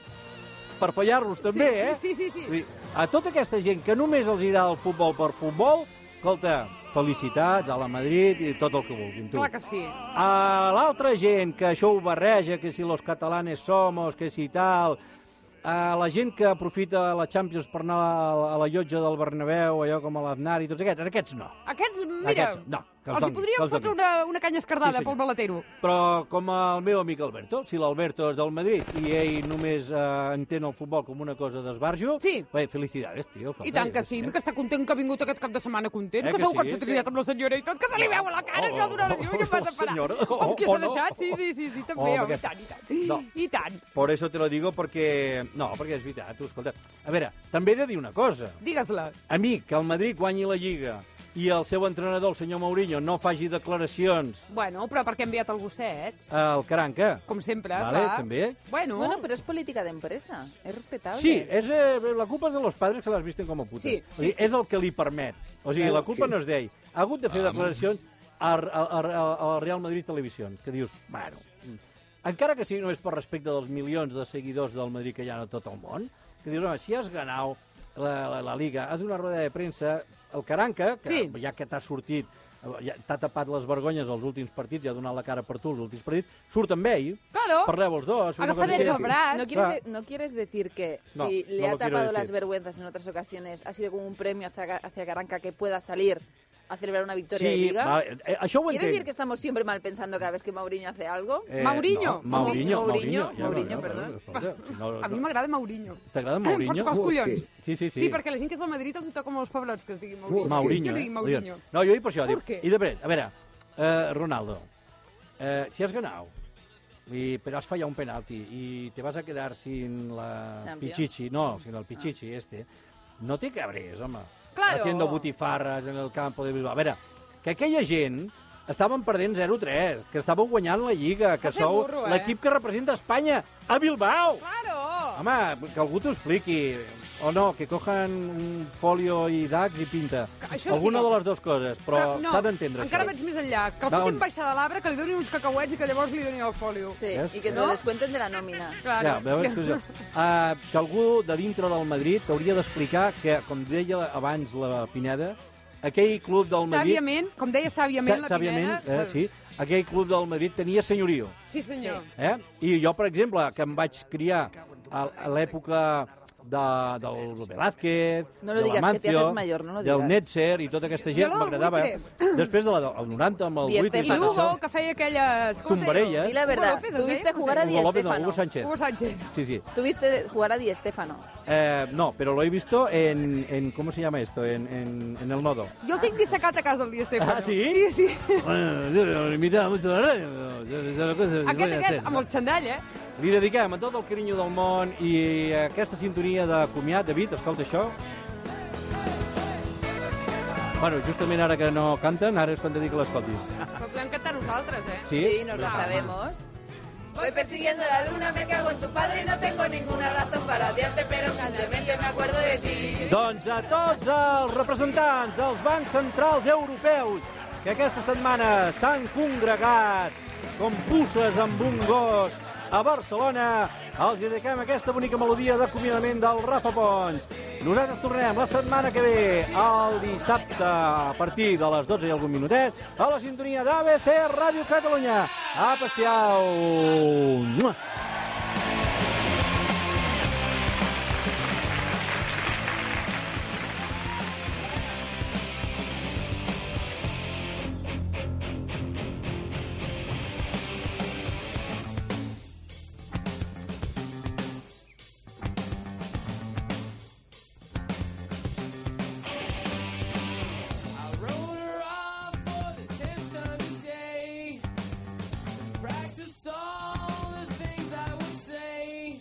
[SPEAKER 2] per fallar-los també,
[SPEAKER 3] sí,
[SPEAKER 2] eh?
[SPEAKER 3] Sí, sí, sí.
[SPEAKER 2] Vull dir, A tota aquesta gent que només els agrada el futbol per futbol, escolta, felicitats a la Madrid i tot el que vulguin. Tu.
[SPEAKER 3] Clar que sí.
[SPEAKER 2] A l'altra gent que això ho barreja, que si los catalanes somos, que si tal... A la gent que aprofita la Champions per anar a la, a la llotja del Bernabéu, allò com a l'Aznar i tots aquests, aquests no.
[SPEAKER 3] Aquests, mira,
[SPEAKER 2] Aquests, no, que els
[SPEAKER 3] els,
[SPEAKER 2] doni,
[SPEAKER 3] hi podríem
[SPEAKER 2] que els
[SPEAKER 3] fotre
[SPEAKER 2] doni.
[SPEAKER 3] una, una canya escardada
[SPEAKER 2] Sí, senyor.
[SPEAKER 3] pel maletero.
[SPEAKER 2] Però com el meu amic Alberto, si l'Alberto és del Madrid i ell només eh, entén el futbol com una cosa d'esbarjo, sí. bé, felicidades, tio.
[SPEAKER 3] I tant que sí, que està content que ha vingut aquest cap de setmana content,
[SPEAKER 2] Eh que
[SPEAKER 3] que, segur que
[SPEAKER 2] sí?
[SPEAKER 3] s'ha triat amb la senyora i tot, que se li veu a la cara, això d'una hora i una passa parar.
[SPEAKER 17] senyora,
[SPEAKER 3] Com que
[SPEAKER 17] o
[SPEAKER 3] s'ha
[SPEAKER 17] no.
[SPEAKER 3] deixat? Sí, sí, sí, sí també,
[SPEAKER 2] Oh,
[SPEAKER 3] home, i
[SPEAKER 2] aquesta-
[SPEAKER 3] tant, i tant.
[SPEAKER 2] No.
[SPEAKER 3] I tant.
[SPEAKER 2] Por eso te lo digo porque... No, perquè és veritat, tu, escolta. A veure, també he de dir una cosa.
[SPEAKER 3] Digues-la.
[SPEAKER 2] A mi, que el Madrid guanyi la Lliga i el seu entrenador, el senyor Mourinho, no faci declaracions
[SPEAKER 3] Bueno, però per què ha enviat el gosset?
[SPEAKER 2] al Caranca...
[SPEAKER 3] Com sempre,
[SPEAKER 2] vale,
[SPEAKER 3] clar.
[SPEAKER 2] també.
[SPEAKER 3] Bueno.
[SPEAKER 5] Bueno, pero es política de empresa. Es respetable.
[SPEAKER 2] Sí, és, eh, la culpa és de los padres que les visten com a putes.
[SPEAKER 5] Ah, Sí,
[SPEAKER 2] o
[SPEAKER 5] sí,
[SPEAKER 2] sigui,
[SPEAKER 5] sí.
[SPEAKER 2] És el que li permet. O sigui, la culpa no és d'ell. Ha hagut de
[SPEAKER 5] Ah,
[SPEAKER 2] fer declaracions a, a, a, a Real Madrid Televisió, que dius, bueno... mm. Encara que sigui només per respecte dels milions de seguidors del Madrid que hi ha a tot el món, que dius, home, si has ganat la, la, la Liga, has d'una roda de premsa, el Caranca, que sí. ja que t'ha sortit, eh, ja t'ha tapat les vergonyes als últims partits, ja ha donat la cara per tu els últims partits, surt amb ell,
[SPEAKER 3] Claro.
[SPEAKER 2] parleu els dos... feu una cosa així.
[SPEAKER 5] ¿No
[SPEAKER 2] Clar.
[SPEAKER 5] quieres, de- no quieres decir que si
[SPEAKER 2] No,
[SPEAKER 5] le
[SPEAKER 2] no
[SPEAKER 5] ha
[SPEAKER 2] lo quiero
[SPEAKER 5] tapado las
[SPEAKER 2] decir.
[SPEAKER 5] vergüenzas en otras ocasiones, ha sido como un premio hacia, hacia Caranca que pueda salir a celebrar una victoria
[SPEAKER 2] Sí,
[SPEAKER 5] de Liga?
[SPEAKER 2] vale, eh, això ho
[SPEAKER 5] ¿Quiere
[SPEAKER 2] entenc.
[SPEAKER 5] decir que estamos siempre mal pensando cada vez que Mauriño hace algo?
[SPEAKER 2] Eh,
[SPEAKER 5] ¿Mauriño?
[SPEAKER 2] no,
[SPEAKER 5] Mauriño,
[SPEAKER 2] Mauriño, Mauriño, ja,
[SPEAKER 5] Mauriño,
[SPEAKER 2] ja,
[SPEAKER 5] perdón.
[SPEAKER 2] escolta, si no-
[SPEAKER 3] A mi
[SPEAKER 2] no-
[SPEAKER 3] m'agrada Maurinho.
[SPEAKER 2] T'agrada
[SPEAKER 3] Em
[SPEAKER 2] Maurinho?
[SPEAKER 3] pot tocar els collons.
[SPEAKER 2] Sí, sí, sí.
[SPEAKER 3] Sí, perquè la gent que és del Madrid els hi toca molt els pebrots que es digui Maurinho.
[SPEAKER 2] Maurinho,
[SPEAKER 3] Que
[SPEAKER 2] eh?
[SPEAKER 3] digui Maurinho.
[SPEAKER 2] Diuen. No, jo dic per això.
[SPEAKER 3] Per
[SPEAKER 2] dic,
[SPEAKER 3] què?
[SPEAKER 2] I després, a veure, eh, Ronaldo, eh, si has ganat, i, però has fallat un penalti i te vas a quedar sin la
[SPEAKER 5] Champions.
[SPEAKER 2] Pichichi,
[SPEAKER 3] Ah.
[SPEAKER 2] no, sin el Pichichi este, no te cabres, home.
[SPEAKER 5] Claro.
[SPEAKER 2] Haciendo butifarras en el campo de Bilbao. A veure, que aquella gent estaven perdent 0-3, que estàveu guanyant la Lliga, que
[SPEAKER 3] fet
[SPEAKER 2] sou
[SPEAKER 3] burro, eh?
[SPEAKER 2] l'equip que representa Espanya a Bilbao.
[SPEAKER 3] Claro!
[SPEAKER 2] Home, que algú t'ho expliqui. O no, que cojan un folio i dacs i pinta.
[SPEAKER 3] això sí.
[SPEAKER 2] Alguna de les dues coses, però, s'ha d'entendre
[SPEAKER 3] encara
[SPEAKER 2] això.
[SPEAKER 3] vaig més enllà. Que el
[SPEAKER 2] Va,
[SPEAKER 3] fotin
[SPEAKER 2] on?
[SPEAKER 3] baixar de l'arbre, que li donin uns cacauets i que llavors li donin el folio.
[SPEAKER 5] Sí,
[SPEAKER 2] Ves?
[SPEAKER 5] y que se
[SPEAKER 3] No?
[SPEAKER 5] lo descuenten de la nómina.
[SPEAKER 3] Claro.
[SPEAKER 2] Ja, veus que... Uh, que algú de dintre del Madrid t'hauria d'explicar que, com deia abans la Pineda, aquell club del Madrid...
[SPEAKER 3] Sàviament, com deia sàviament la
[SPEAKER 2] Sa- sàviament,
[SPEAKER 3] Pineda...
[SPEAKER 2] eh, sí, aquell club del Madrid tenia senyorio.
[SPEAKER 3] Sí, senyor.
[SPEAKER 2] Eh? I jo, per exemple, que em vaig criar a, a l'època de, del Velázquez,
[SPEAKER 5] No lo
[SPEAKER 2] de la
[SPEAKER 5] digas, que te
[SPEAKER 2] Mancio,
[SPEAKER 5] haces mayor, no lo
[SPEAKER 2] del
[SPEAKER 5] digas.
[SPEAKER 2] Netzer i tota aquesta gent
[SPEAKER 3] Jo la del
[SPEAKER 2] m'agradava.
[SPEAKER 3] Buitre.
[SPEAKER 2] Després de la del 90 amb el
[SPEAKER 3] I,
[SPEAKER 2] Buitre.
[SPEAKER 3] I Lugo, que feia aquelles... com es deia?
[SPEAKER 2] Tombarelles. Di la
[SPEAKER 5] verdad,
[SPEAKER 3] Hugo López, es
[SPEAKER 5] tuviste
[SPEAKER 3] deia?
[SPEAKER 5] jugar a
[SPEAKER 2] Hugo
[SPEAKER 5] Di
[SPEAKER 2] López, no,
[SPEAKER 5] Stéfano.
[SPEAKER 2] Hugo Sánchez.
[SPEAKER 3] Hugo Sánchez.
[SPEAKER 2] Sí, sí.
[SPEAKER 5] Tuviste jugar a Di Stéfano.
[SPEAKER 2] Eh, no, pero lo he visto en, en ¿cómo se llama esto? En, en, en el nodo.
[SPEAKER 3] Jo el tinc dissecat a casa el Di Estefano.
[SPEAKER 2] Ah, sí?
[SPEAKER 3] Sí, sí.
[SPEAKER 2] Bueno, yo lo imitaba mucho a la radio. no, yo- yo- yo la cosa que voy
[SPEAKER 3] Aquest,
[SPEAKER 2] a
[SPEAKER 3] aquest,
[SPEAKER 2] hacer,
[SPEAKER 3] amb el xandall, eh?
[SPEAKER 2] no? Li dediquem a tot el carinyo del món i aquesta sintonia de comiat. David, escolta això. Bueno, justament ara que no canten, ara és quan te dic que l'escoltis.
[SPEAKER 3] Però podem cantar nosaltres, eh?
[SPEAKER 2] Sí? Sí, nos la
[SPEAKER 3] Ah.
[SPEAKER 5] sabemos.
[SPEAKER 16] Voy persiguiendo la luna, me cago en tu padre y no tengo ninguna razón para odiarte, pero simplemente me acuerdo de ti.
[SPEAKER 2] Doncs a tots els representants dels bancs centrals europeus que aquesta setmana s'han congregat com pusses amb un gos a Barcelona, els dediquem aquesta bonica melodia d'acomiadament del Rafa Pons. Nosaltres tornem la setmana que ve, el dissabte, a partir de les 12 i algun minutet, a la sintonia d'ABC Ràdio Catalunya. Apa, siau! Mua!
[SPEAKER 9] I wrote her off for the tenth time today. Practiced all the things I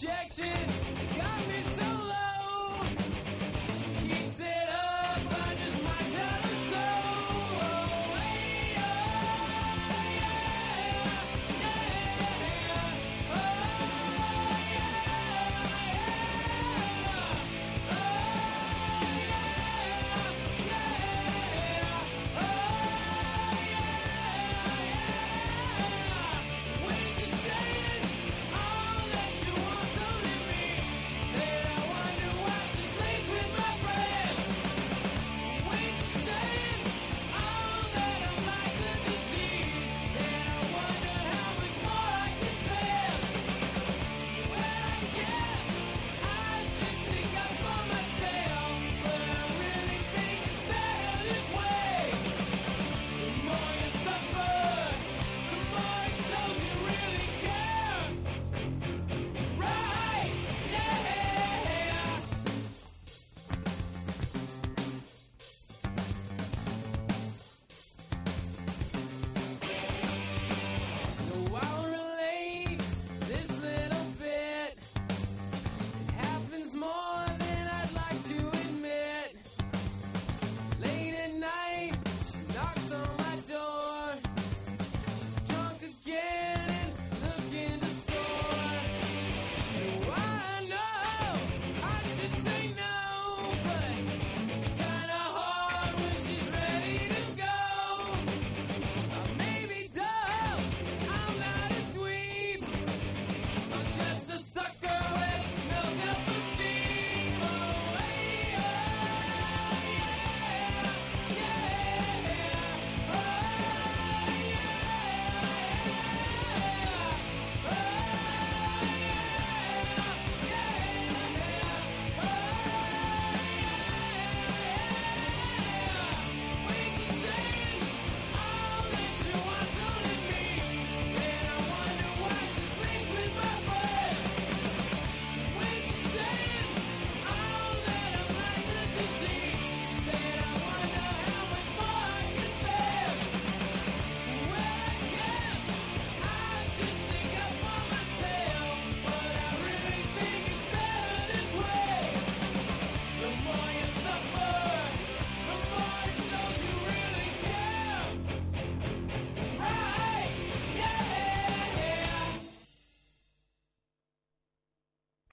[SPEAKER 9] Jackson.